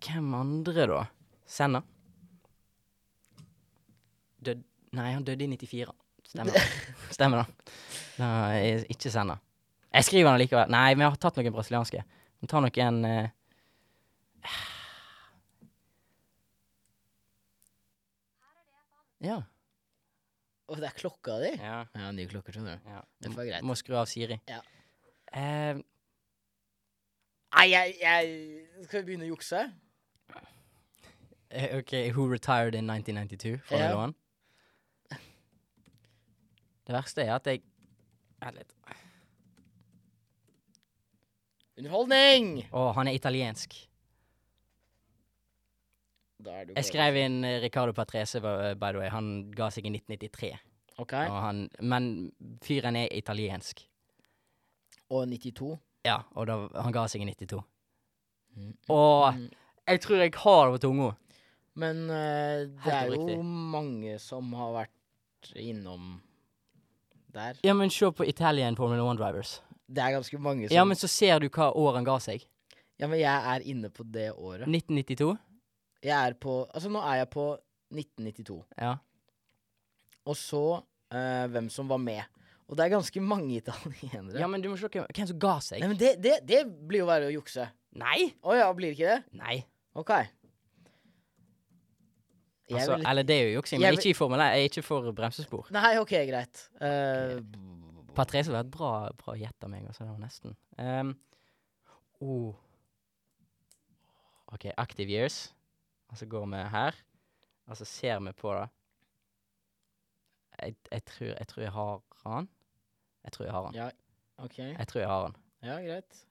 Speaker 4: hvem andre, da? Senna? Død Nei, han døde i 94. Stemmer
Speaker 5: [laughs]
Speaker 4: det. Stemmer det. Nei, ikke Senna. Jeg skriver han likevel. Nei, vi har tatt noen brasilianske. Vi tar noen eh, Ja.
Speaker 5: Og det er klokka di?
Speaker 4: ja.
Speaker 5: Ja, nye klokker, skjønner du.
Speaker 4: ja.
Speaker 5: Det var greit.
Speaker 4: Må skru av Siri.
Speaker 5: Ja.
Speaker 4: Eh,
Speaker 5: Nei, jeg, jeg Skal vi begynne å jukse?
Speaker 4: Eh, Ok, Who Retired in 1992? Formel
Speaker 5: Ja.
Speaker 4: 1. Det verste er at jeg Vent litt.
Speaker 5: Underholdning!
Speaker 4: Å, han er italiensk.
Speaker 5: Da er du
Speaker 4: Jeg
Speaker 5: god.
Speaker 4: skrev inn eh, Ricardo Patrese, eh, by by the way. Han ga seg i 1993.
Speaker 5: OK.
Speaker 4: Og han, men fyren er italiensk.
Speaker 5: Og 92.
Speaker 4: Ja, og da, han ga seg i 92.
Speaker 5: Mm.
Speaker 4: Og
Speaker 5: Mm.
Speaker 4: jeg tror jeg har det på tunga.
Speaker 5: Men eh, det
Speaker 4: Helt
Speaker 5: er jo
Speaker 4: oppriktig.
Speaker 5: mange som har vært innom der.
Speaker 4: Ja, men se på Italian Formel 1 Drivers.
Speaker 5: Det er ganske mange som
Speaker 4: Ja, men så ser du hva år han ga seg.
Speaker 5: ja, men jeg er inne på det året.
Speaker 4: 1992.
Speaker 5: Jeg er på Altså, nå er jeg på 1992.
Speaker 4: Ja.
Speaker 5: Og så eh, hvem som var med. Og det er ganske mange italienere.
Speaker 4: ja, men du må se hvem hvem som ga seg.
Speaker 5: Nei, men det, det, det blir jo verre å jukse.
Speaker 4: Nei!
Speaker 5: Å ja, blir det ikke det?
Speaker 4: Nei.
Speaker 5: OK. Jeg
Speaker 4: Altså,
Speaker 5: vil-
Speaker 4: Eller det er jo juksing,
Speaker 5: Jeg
Speaker 4: men
Speaker 5: vil-
Speaker 4: ikke i Formel 1. Jeg er ikke for bremsespor.
Speaker 5: Nei, OK, greit. Eh,
Speaker 4: Patrese var et bra, bra gjett av meg, altså. Det var nesten. Ehm, oh. OK, Active Years. Og så går vi her, og så ser vi på det. Jeg, jeg, tror, jeg tror jeg har han. Jeg tror jeg har han.
Speaker 5: ja, OK.
Speaker 4: Jeg tror jeg har han.
Speaker 5: Ja, greit.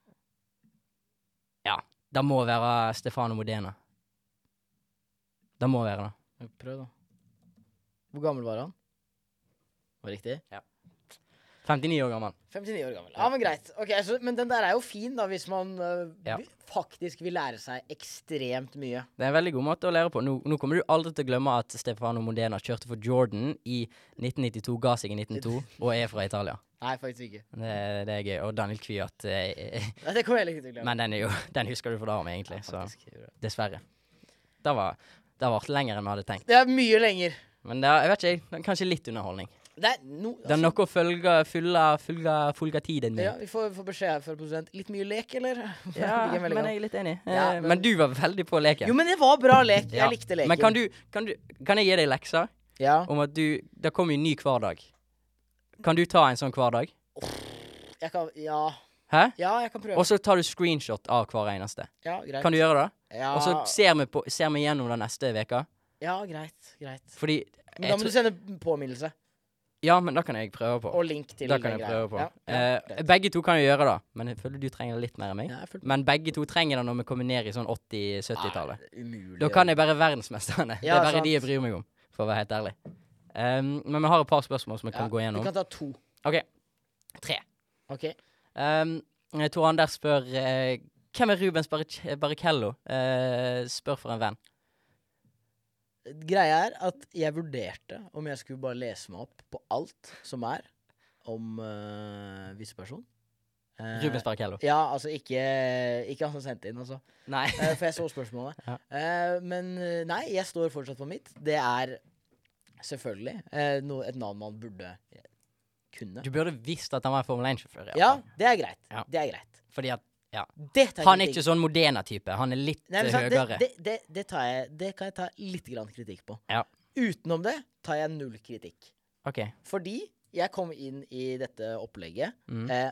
Speaker 4: Det må være Stefano Modena. Det må være det.
Speaker 5: Ja, Prøv, da. Hvor gammel var han? Var det riktig?
Speaker 4: Ja. 59 år gammel.
Speaker 5: 59 år gammel. Ja, men greit. Ok, så, men den der er jo fin, da, hvis man øh,
Speaker 4: Ja.
Speaker 5: vi- faktisk vil lære seg ekstremt mye.
Speaker 4: Det er en veldig god måte å lære på. Nå, nå kommer du aldri til å glemme at Stefano Modena kjørte for Jordan i 1992, ga seg i 1902 og er fra Italia.
Speaker 5: Nei, faktisk ikke.
Speaker 4: Det, det er gøy. Og Daniel Kviat. Eh,
Speaker 5: Nei, det kommer jeg heller ikke til å glemme.
Speaker 4: men den, er jo, [laughs] den husker du for da om, egentlig. Så
Speaker 5: Faktisk.
Speaker 4: dessverre. Det var det har vært lenger enn vi hadde tenkt.
Speaker 5: Det er mye lenger.
Speaker 4: Men det, er- jeg vet ikke, det er kanskje litt underholdning.
Speaker 5: Det er no,
Speaker 4: Det er
Speaker 5: altså,
Speaker 4: noe å følge, følge, følge, følge tiden
Speaker 5: ja,
Speaker 4: med.
Speaker 5: vi får, får beskjed her fra produsent. Litt mye lek, eller? [laughs]
Speaker 4: Ja, men
Speaker 5: Hvilken melding
Speaker 4: jeg er litt enig.
Speaker 5: Ja,
Speaker 4: Eh,
Speaker 5: men-
Speaker 4: Men du var veldig på leken.
Speaker 5: Jo, men det var bra lek. Jeg
Speaker 4: Ja.
Speaker 5: likte leken.
Speaker 4: Men kan du, kan du Kan jeg gi deg lekser
Speaker 5: Ja.
Speaker 4: om at du Det kommer jo en ny hver dag. Kan du ta en sånn hver dag?
Speaker 5: Jeg kan, ja.
Speaker 4: Hæ?
Speaker 5: ja, jeg kan prøve.
Speaker 4: Og så tar du screenshot av hver eneste.
Speaker 5: ja, greit.
Speaker 4: Kan du gjøre det?
Speaker 5: ja,
Speaker 4: Og så ser vi, på, ser vi gjennom det neste uke.
Speaker 5: ja, greit. Greit.
Speaker 4: Fordi
Speaker 5: Men da
Speaker 4: jeg
Speaker 5: må du
Speaker 4: tror,
Speaker 5: sende påminnelse
Speaker 4: Ja, men da kan jeg prøve på.
Speaker 5: og link til
Speaker 4: Da kan jeg
Speaker 5: den
Speaker 4: prøve på.
Speaker 5: greia. Ja, ja,
Speaker 4: Eh,
Speaker 5: greit.
Speaker 4: begge to kan jo gjøre det, men jeg føler du trenger litt mer enn meg.
Speaker 5: Ja, jeg følte-
Speaker 4: Men begge to trenger det når vi kommer ned i sånn 80-70-tallet.
Speaker 5: Nei, det er Umulig.
Speaker 4: Da kan jeg bare verdensmesterne. det
Speaker 5: Ah, Ja,
Speaker 4: er bare
Speaker 5: sant.
Speaker 4: de jeg bryr meg om, for å være helt ærlig. Um, men vi har et par spørsmål som vi kan
Speaker 5: Ja,
Speaker 4: gå gjennom.
Speaker 5: Du kan ta to.
Speaker 4: OK. Tre.
Speaker 5: Ok.
Speaker 4: Um, Tor Anders spør eh, Hvem er Rubens Barric- Barrichello? Eh, spør for en venn.
Speaker 5: Greia er at jeg vurderte om jeg skulle bare lese meg opp på alt som er om uh, visse person. Eh,
Speaker 4: Rubens Barrichello.
Speaker 5: Ja, altså ikke, ikke han som sendte inn, altså.
Speaker 4: Nei.
Speaker 5: Eh, for jeg så spørsmålet.
Speaker 4: [laughs] Ja.
Speaker 5: Eh, men eh, nei, jeg står fortsatt på mitt. Det er selvfølgelig eh, no, et navn man burde kunne.
Speaker 4: Du burde visst at han var en Formel 1-sjåfør. i hvert
Speaker 5: Ja,
Speaker 4: fall.
Speaker 5: det er greit.
Speaker 4: Ja.
Speaker 5: Det er greit.
Speaker 4: Fordi at
Speaker 5: Det tar jeg
Speaker 4: Han er
Speaker 5: kritikk-
Speaker 4: ikke sånn Modena-type. Han er litt
Speaker 5: Nei, men
Speaker 4: eh,
Speaker 5: sant,
Speaker 4: høyere.
Speaker 5: Det, det, det, det, tar jeg, det kan jeg ta litt grann kritikk på.
Speaker 4: Ja.
Speaker 5: Utenom det tar jeg null kritikk.
Speaker 4: OK.
Speaker 5: Fordi jeg kom inn i dette opplegget
Speaker 4: Mm.
Speaker 5: eh,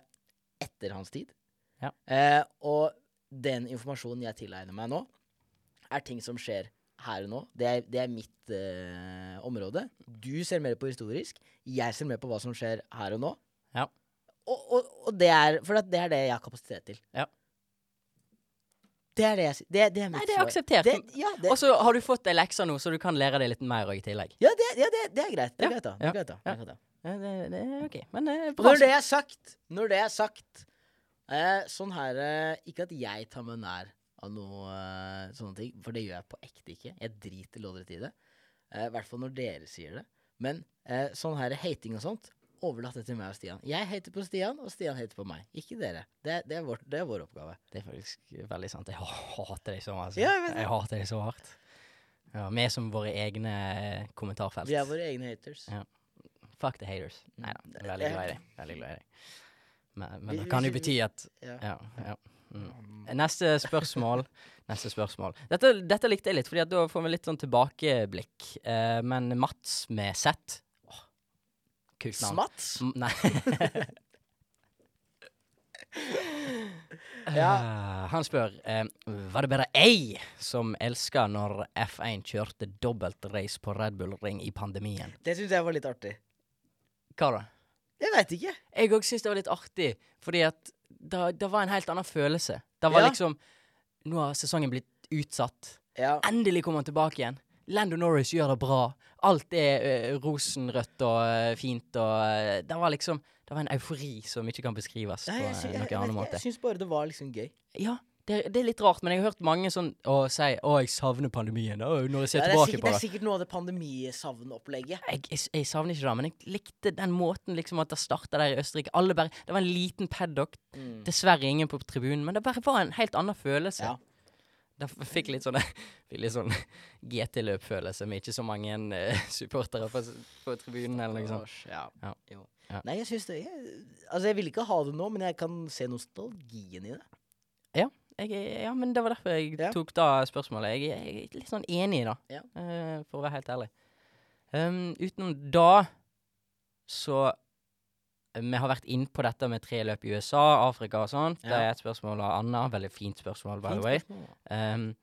Speaker 5: etter hans tid.
Speaker 4: Ja.
Speaker 5: Eh, og den informasjonen jeg tilegner meg nå, er ting som skjer her og nå. Det er, det er mitt eh, område. Du ser mer på historisk. Jeg ser mer på hva som skjer her og nå.
Speaker 4: Ja.
Speaker 5: Og, og, og det er For at det er det jeg har kapasitet til.
Speaker 4: Ja.
Speaker 5: Det er det jeg sier. Det, det er mitt
Speaker 4: Nei, det er
Speaker 5: svar.
Speaker 4: akseptert.
Speaker 5: Det, ja, det,
Speaker 4: Og så har du fått ei lekse nå, så du kan lære deg litt mer òg i tillegg.
Speaker 5: ja, det, ja det, det er greit. Det
Speaker 4: Ja,
Speaker 5: er greit, da. Det
Speaker 4: ja,
Speaker 5: er greit, da. Det
Speaker 4: ja.
Speaker 5: er greit, da.
Speaker 4: Ja, det, det er OK. Men eh,
Speaker 5: Og
Speaker 4: bra.
Speaker 5: Når det er sagt, når det er sagt eh, Sånn her eh, Ikke at jeg tar meg nær av noe eh, sånne ting, for det gjør jeg på ekte ikke. Jeg driter loddrett i det. Eh, I hvert fall når dere sier det. Men eh, sånn her hating og sånt, overlat det til meg og Stian. Jeg hater på Stian, og Stian hater på meg. Ikke dere. Det, det, er, vårt, det er vår oppgave.
Speaker 4: Det er faktisk eh, veldig sant. Jeg hater deg så mye. Altså.
Speaker 5: Ja, jeg vet det.
Speaker 4: jeg hater deg så hardt. Ja, vi er som våre egne eh, kommentarfelt.
Speaker 5: Vi er våre egne haters.
Speaker 4: Ja. Fuck the haters. Nei da, jeg er veldig glad i deg. Veldig glad i deg. Men, men
Speaker 5: Vi-
Speaker 4: det kan
Speaker 5: vi-
Speaker 4: jo bety at
Speaker 5: Ja.
Speaker 4: Ja. ja. Mm. Neste spørsmål. Neste spørsmål. Dette, dette likte jeg litt, Fordi at da får vi litt sånn tilbakeblikk. Eh, men Mats med Z Åh, Kult navn.
Speaker 5: Smats?
Speaker 4: [laughs] M-
Speaker 5: [laughs]
Speaker 4: Nei. Eh, [laughs] han spør eh, Var det bare jeg som elska når F1 kjørte dobbeltrace på Red Bull Ring i pandemien?
Speaker 5: Det syns jeg var litt artig.
Speaker 4: Hva da?
Speaker 5: Jeg veit ikke.
Speaker 4: Jeg òg syns det var litt artig, fordi at det, det var en helt annen følelse. Det var
Speaker 5: Ja.
Speaker 4: liksom Nå har sesongen blitt utsatt.
Speaker 5: Ja.
Speaker 4: Endelig kommer han tilbake igjen. Lando Norris gjør det bra. Alt er eh, rosenrødt og eh, fint og eh, Det var liksom Det var en eufori som ikke kan beskrives
Speaker 5: Nei,
Speaker 4: på
Speaker 5: jeg, sy-
Speaker 4: eh,
Speaker 5: jeg, jeg,
Speaker 4: noen annen
Speaker 5: vet ikke,
Speaker 4: måte.
Speaker 5: jeg syns bare det var liksom gøy.
Speaker 4: Ja, det, det er litt rart, men jeg har hørt mange sånn å si Å, jeg savner pandemien da, når jeg ser
Speaker 5: Ja, det,
Speaker 4: tilbake
Speaker 5: er sikkert, det
Speaker 4: på
Speaker 5: er
Speaker 4: det.
Speaker 5: sikkert noe av det pandemisavnopplegget.
Speaker 4: Jeg, jeg, jeg savner ikke det, men jeg likte den måten liksom at det starta der i Østerrike. Alle bare, Det var en liten paddock.
Speaker 5: Mm.
Speaker 4: Dessverre ingen på tribunen, men det bare var en helt annen følelse.
Speaker 5: Ja.
Speaker 4: Da f- fikk jeg litt sånn, [laughs] fikk litt sånn GT-løpfølelse med ikke så mange eh, [laughs] supportere på, s- på tribunen. eller noe sånt.
Speaker 5: Års, Ja.
Speaker 4: Ja.
Speaker 5: Jo.
Speaker 4: Ja.
Speaker 5: Nei, jeg syns det jeg, Altså, jeg vil ikke ha det nå, men jeg kan se nostalgien i det.
Speaker 4: Jeg, er- ja, men det var derfor jeg
Speaker 5: Ja.
Speaker 4: tok da spørsmålet. Jeg, er- jeg er litt sånn enig i det,
Speaker 5: Ja.
Speaker 4: eh, for å være helt ærlig. Um, utenom da, så eh, Vi har vært inn på dette med tre løp i USA, Afrika og sånt. Det
Speaker 5: Ja.
Speaker 4: er et spørsmål av Anna. Veldig fint spørsmål, by
Speaker 5: Fint
Speaker 4: the way.
Speaker 5: spørsmål, da.
Speaker 4: Um,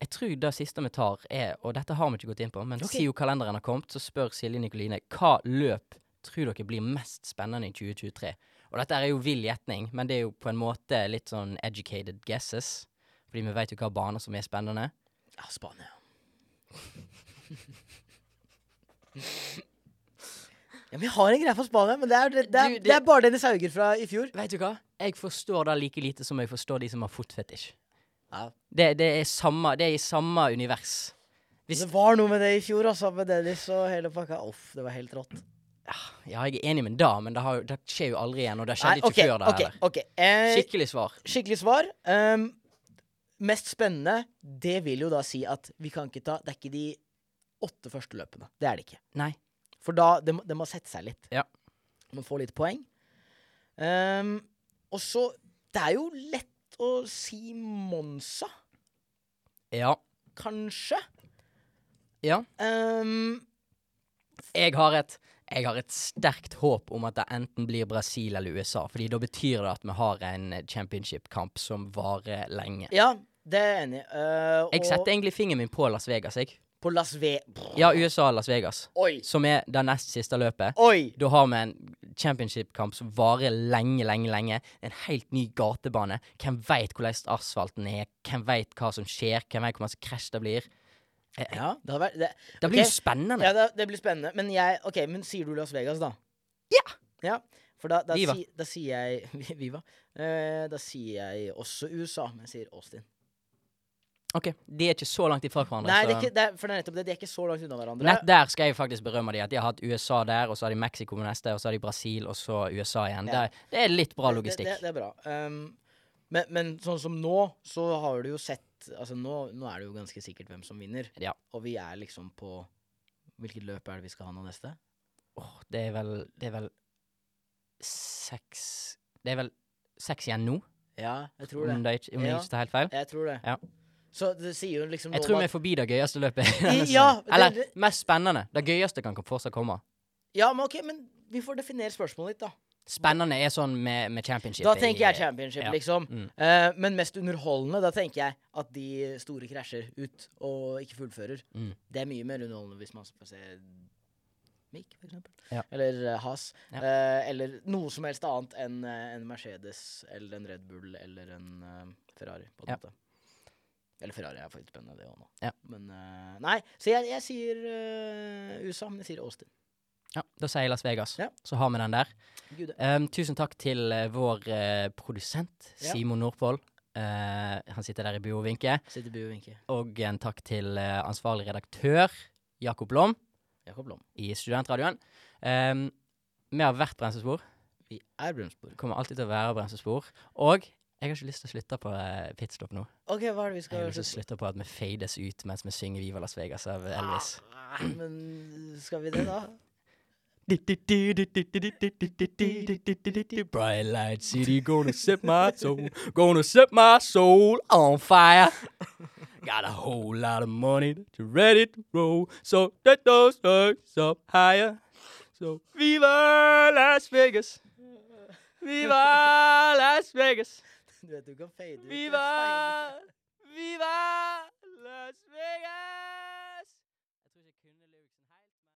Speaker 4: jeg tror det siste vi tar er, og dette har vi ikke gått inn på, men
Speaker 5: Ok.
Speaker 4: siden kalenderen har kommet, så spør Silje Nikoline hva løp tror dere blir mest spennende i 2023? Og dette er jo vill gjetning, men det er jo på en måte litt sånn educated guesses. Fordi vi vet jo hva baner som er spennende.
Speaker 5: Ja, Spania. Ja, men jeg har en greie for Spania, men det er, det, det er,
Speaker 4: Du, det-
Speaker 5: det er bare Dennis Hauger fra i fjor.
Speaker 4: Vet du hva? Jeg forstår det like lite som jeg forstår de som har fotfetisj.
Speaker 5: Ja.
Speaker 4: Det, det, er samme, det er i samme univers. Hvis-
Speaker 5: Det var noe med det i fjor, altså, med Dennis og hele pakka. Uff, det var helt rått.
Speaker 4: Ja, jeg er enig med da, men det, har, jo- det skjer jo aldri igjen, og det
Speaker 5: Nei,
Speaker 4: skjedde ikke
Speaker 5: ok,
Speaker 4: før det
Speaker 5: ok,
Speaker 4: heller.
Speaker 5: ok. Eh,
Speaker 4: Skikkelig svar.
Speaker 5: skikkelig svar. Ehm, mest spennende, det vil jo da si at vi kan ikke ta Det er ikke de åtte første løpene. Det er det ikke.
Speaker 4: Nei.
Speaker 5: For da Det må, det må sette seg litt.
Speaker 4: Ja.
Speaker 5: Man får litt poeng. Ehm, og så Det er jo lett å si Monza,
Speaker 4: Ja.
Speaker 5: kanskje.
Speaker 4: Ja.
Speaker 5: Ehm,
Speaker 4: Jeg har et jeg har et sterkt håp om at det enten blir Brasil eller USA, fordi da betyr det at vi har en championship-kamp som varer lenge.
Speaker 5: ja, det er jeg enig i. Eh,
Speaker 4: Jeg
Speaker 5: og
Speaker 4: setter egentlig fingeren min på Las Vegas, jeg.
Speaker 5: På Las Ve...
Speaker 4: Ja, USA eller Las Vegas,
Speaker 5: Oi!
Speaker 4: som er det nest siste løpet.
Speaker 5: Oi!
Speaker 4: Da har vi en championship-kamp som varer lenge, lenge, lenge. En helt ny gatebane. Hvem veit hvordan asfalten er? Hvem veit hva som skjer? Hvem veit hvor masse krasj det blir? Eh,
Speaker 5: Ja, det hadde vært det,
Speaker 4: Det blir jo
Speaker 5: Ok.
Speaker 4: spennende.
Speaker 5: Ja, det, det blir spennende. Men jeg Ok, men sier du Las Vegas, da?
Speaker 4: Ja.
Speaker 5: Ja, For da, da,
Speaker 4: Viva.
Speaker 5: si, da sier jeg [laughs] Vi- Viva. Eh, da sier jeg også USA, men jeg sier Austin.
Speaker 4: Ok, De er ikke så langt ifra hverandre.
Speaker 5: Nei, det er
Speaker 4: så-
Speaker 5: ikke, det er, for det er nettopp det. De er ikke så langt unna hverandre.
Speaker 4: Nett der skal jeg faktisk berømme de At de har hatt USA der, og så har de Mexico på neste, og så har de Brasil, og så USA igjen.
Speaker 5: Ja.
Speaker 4: Det, det er litt bra
Speaker 5: Det-
Speaker 4: logistikk.
Speaker 5: Det, det, det er bra. Ehm, men, men sånn som nå, så har du jo sett Altså nå, nå er det jo ganske sikkert hvem som vinner.
Speaker 4: Ja.
Speaker 5: Og vi er liksom på Hvilket løp er det vi skal ha nå neste?
Speaker 4: Åh, det er vel Det er vel seks Det er vel seks igjen nå,
Speaker 5: Ja, jeg tror
Speaker 4: om
Speaker 5: det.
Speaker 4: det ikke, om Mm, det
Speaker 5: Ja.
Speaker 4: ikke tar helt feil.
Speaker 5: Jeg tror det.
Speaker 4: Ja.
Speaker 5: Så det sier jo liksom
Speaker 4: Jeg
Speaker 5: noe
Speaker 4: tror
Speaker 5: om
Speaker 4: vi
Speaker 5: at
Speaker 4: er forbi det gøyeste løpet. i denne
Speaker 5: Ja,
Speaker 4: sesongen.
Speaker 5: det-
Speaker 4: Eller
Speaker 5: det-
Speaker 4: mest spennende. Det gøyeste kan fortsatt komme.
Speaker 5: Ja, men ok, men vi får definere spørsmålet litt, da.
Speaker 4: Spennende er sånn med, med championship.
Speaker 5: Da
Speaker 4: i-
Speaker 5: tenker jeg championship,
Speaker 4: ja.
Speaker 5: liksom.
Speaker 4: Mm.
Speaker 5: Eh, men mest underholdende, da tenker jeg at de store krasjer ut og ikke fullfører.
Speaker 4: Mm.
Speaker 5: Det er mye mer underholdende hvis man får se Mick, for eksempel.
Speaker 4: Ja.
Speaker 5: Eller eh, Haas.
Speaker 4: Ja.
Speaker 5: Eh, eller noe som helst annet enn eh, en Mercedes eller en Red Bull eller en eh, Ferrari, på en
Speaker 4: Ja.
Speaker 5: måte. Eller Ferrari er faktisk spennende, det òg nå.
Speaker 4: Ja.
Speaker 5: Men eh, Nei, så jeg, jeg sier eh, USA, men jeg sier Austin.
Speaker 4: Ja, da sier jeg Las Vegas.
Speaker 5: Ja.
Speaker 4: Så har vi den der.
Speaker 5: Gud, det-
Speaker 4: Em, tusen takk til eh, vår eh, produsent
Speaker 5: Ja.
Speaker 4: Simon Nordpål. Eh, han sitter der i buovinke.
Speaker 5: Sitter Bu og vinker.
Speaker 4: Og en takk til eh, ansvarlig redaktør Jakob Blom
Speaker 5: Jakob Blom.
Speaker 4: i Studentradioen. Em, vi har vært bremsespor.
Speaker 5: Vi er Brønsborg.
Speaker 4: Kommer alltid til å være bremsespor. Og jeg har ikke lyst til å slutte på eh, pitstop nå.
Speaker 5: OK, hva er det vi
Speaker 4: Jeg
Speaker 5: skal
Speaker 4: har lyst til å
Speaker 5: slutte
Speaker 4: slutte på at vi fades ut mens vi synger 'Viva Las Vegas' av
Speaker 5: Ah.
Speaker 4: Elvis.
Speaker 5: på? Men skal vi det, da?
Speaker 4: Bright light city, gonna set my soul, gonna set my soul on fire. Got a whole lot of money that you ready to roll, so that those hurts up higher. So viva Las Vegas, viva Las Vegas,
Speaker 5: Du vet du kan fade ut.
Speaker 4: viva.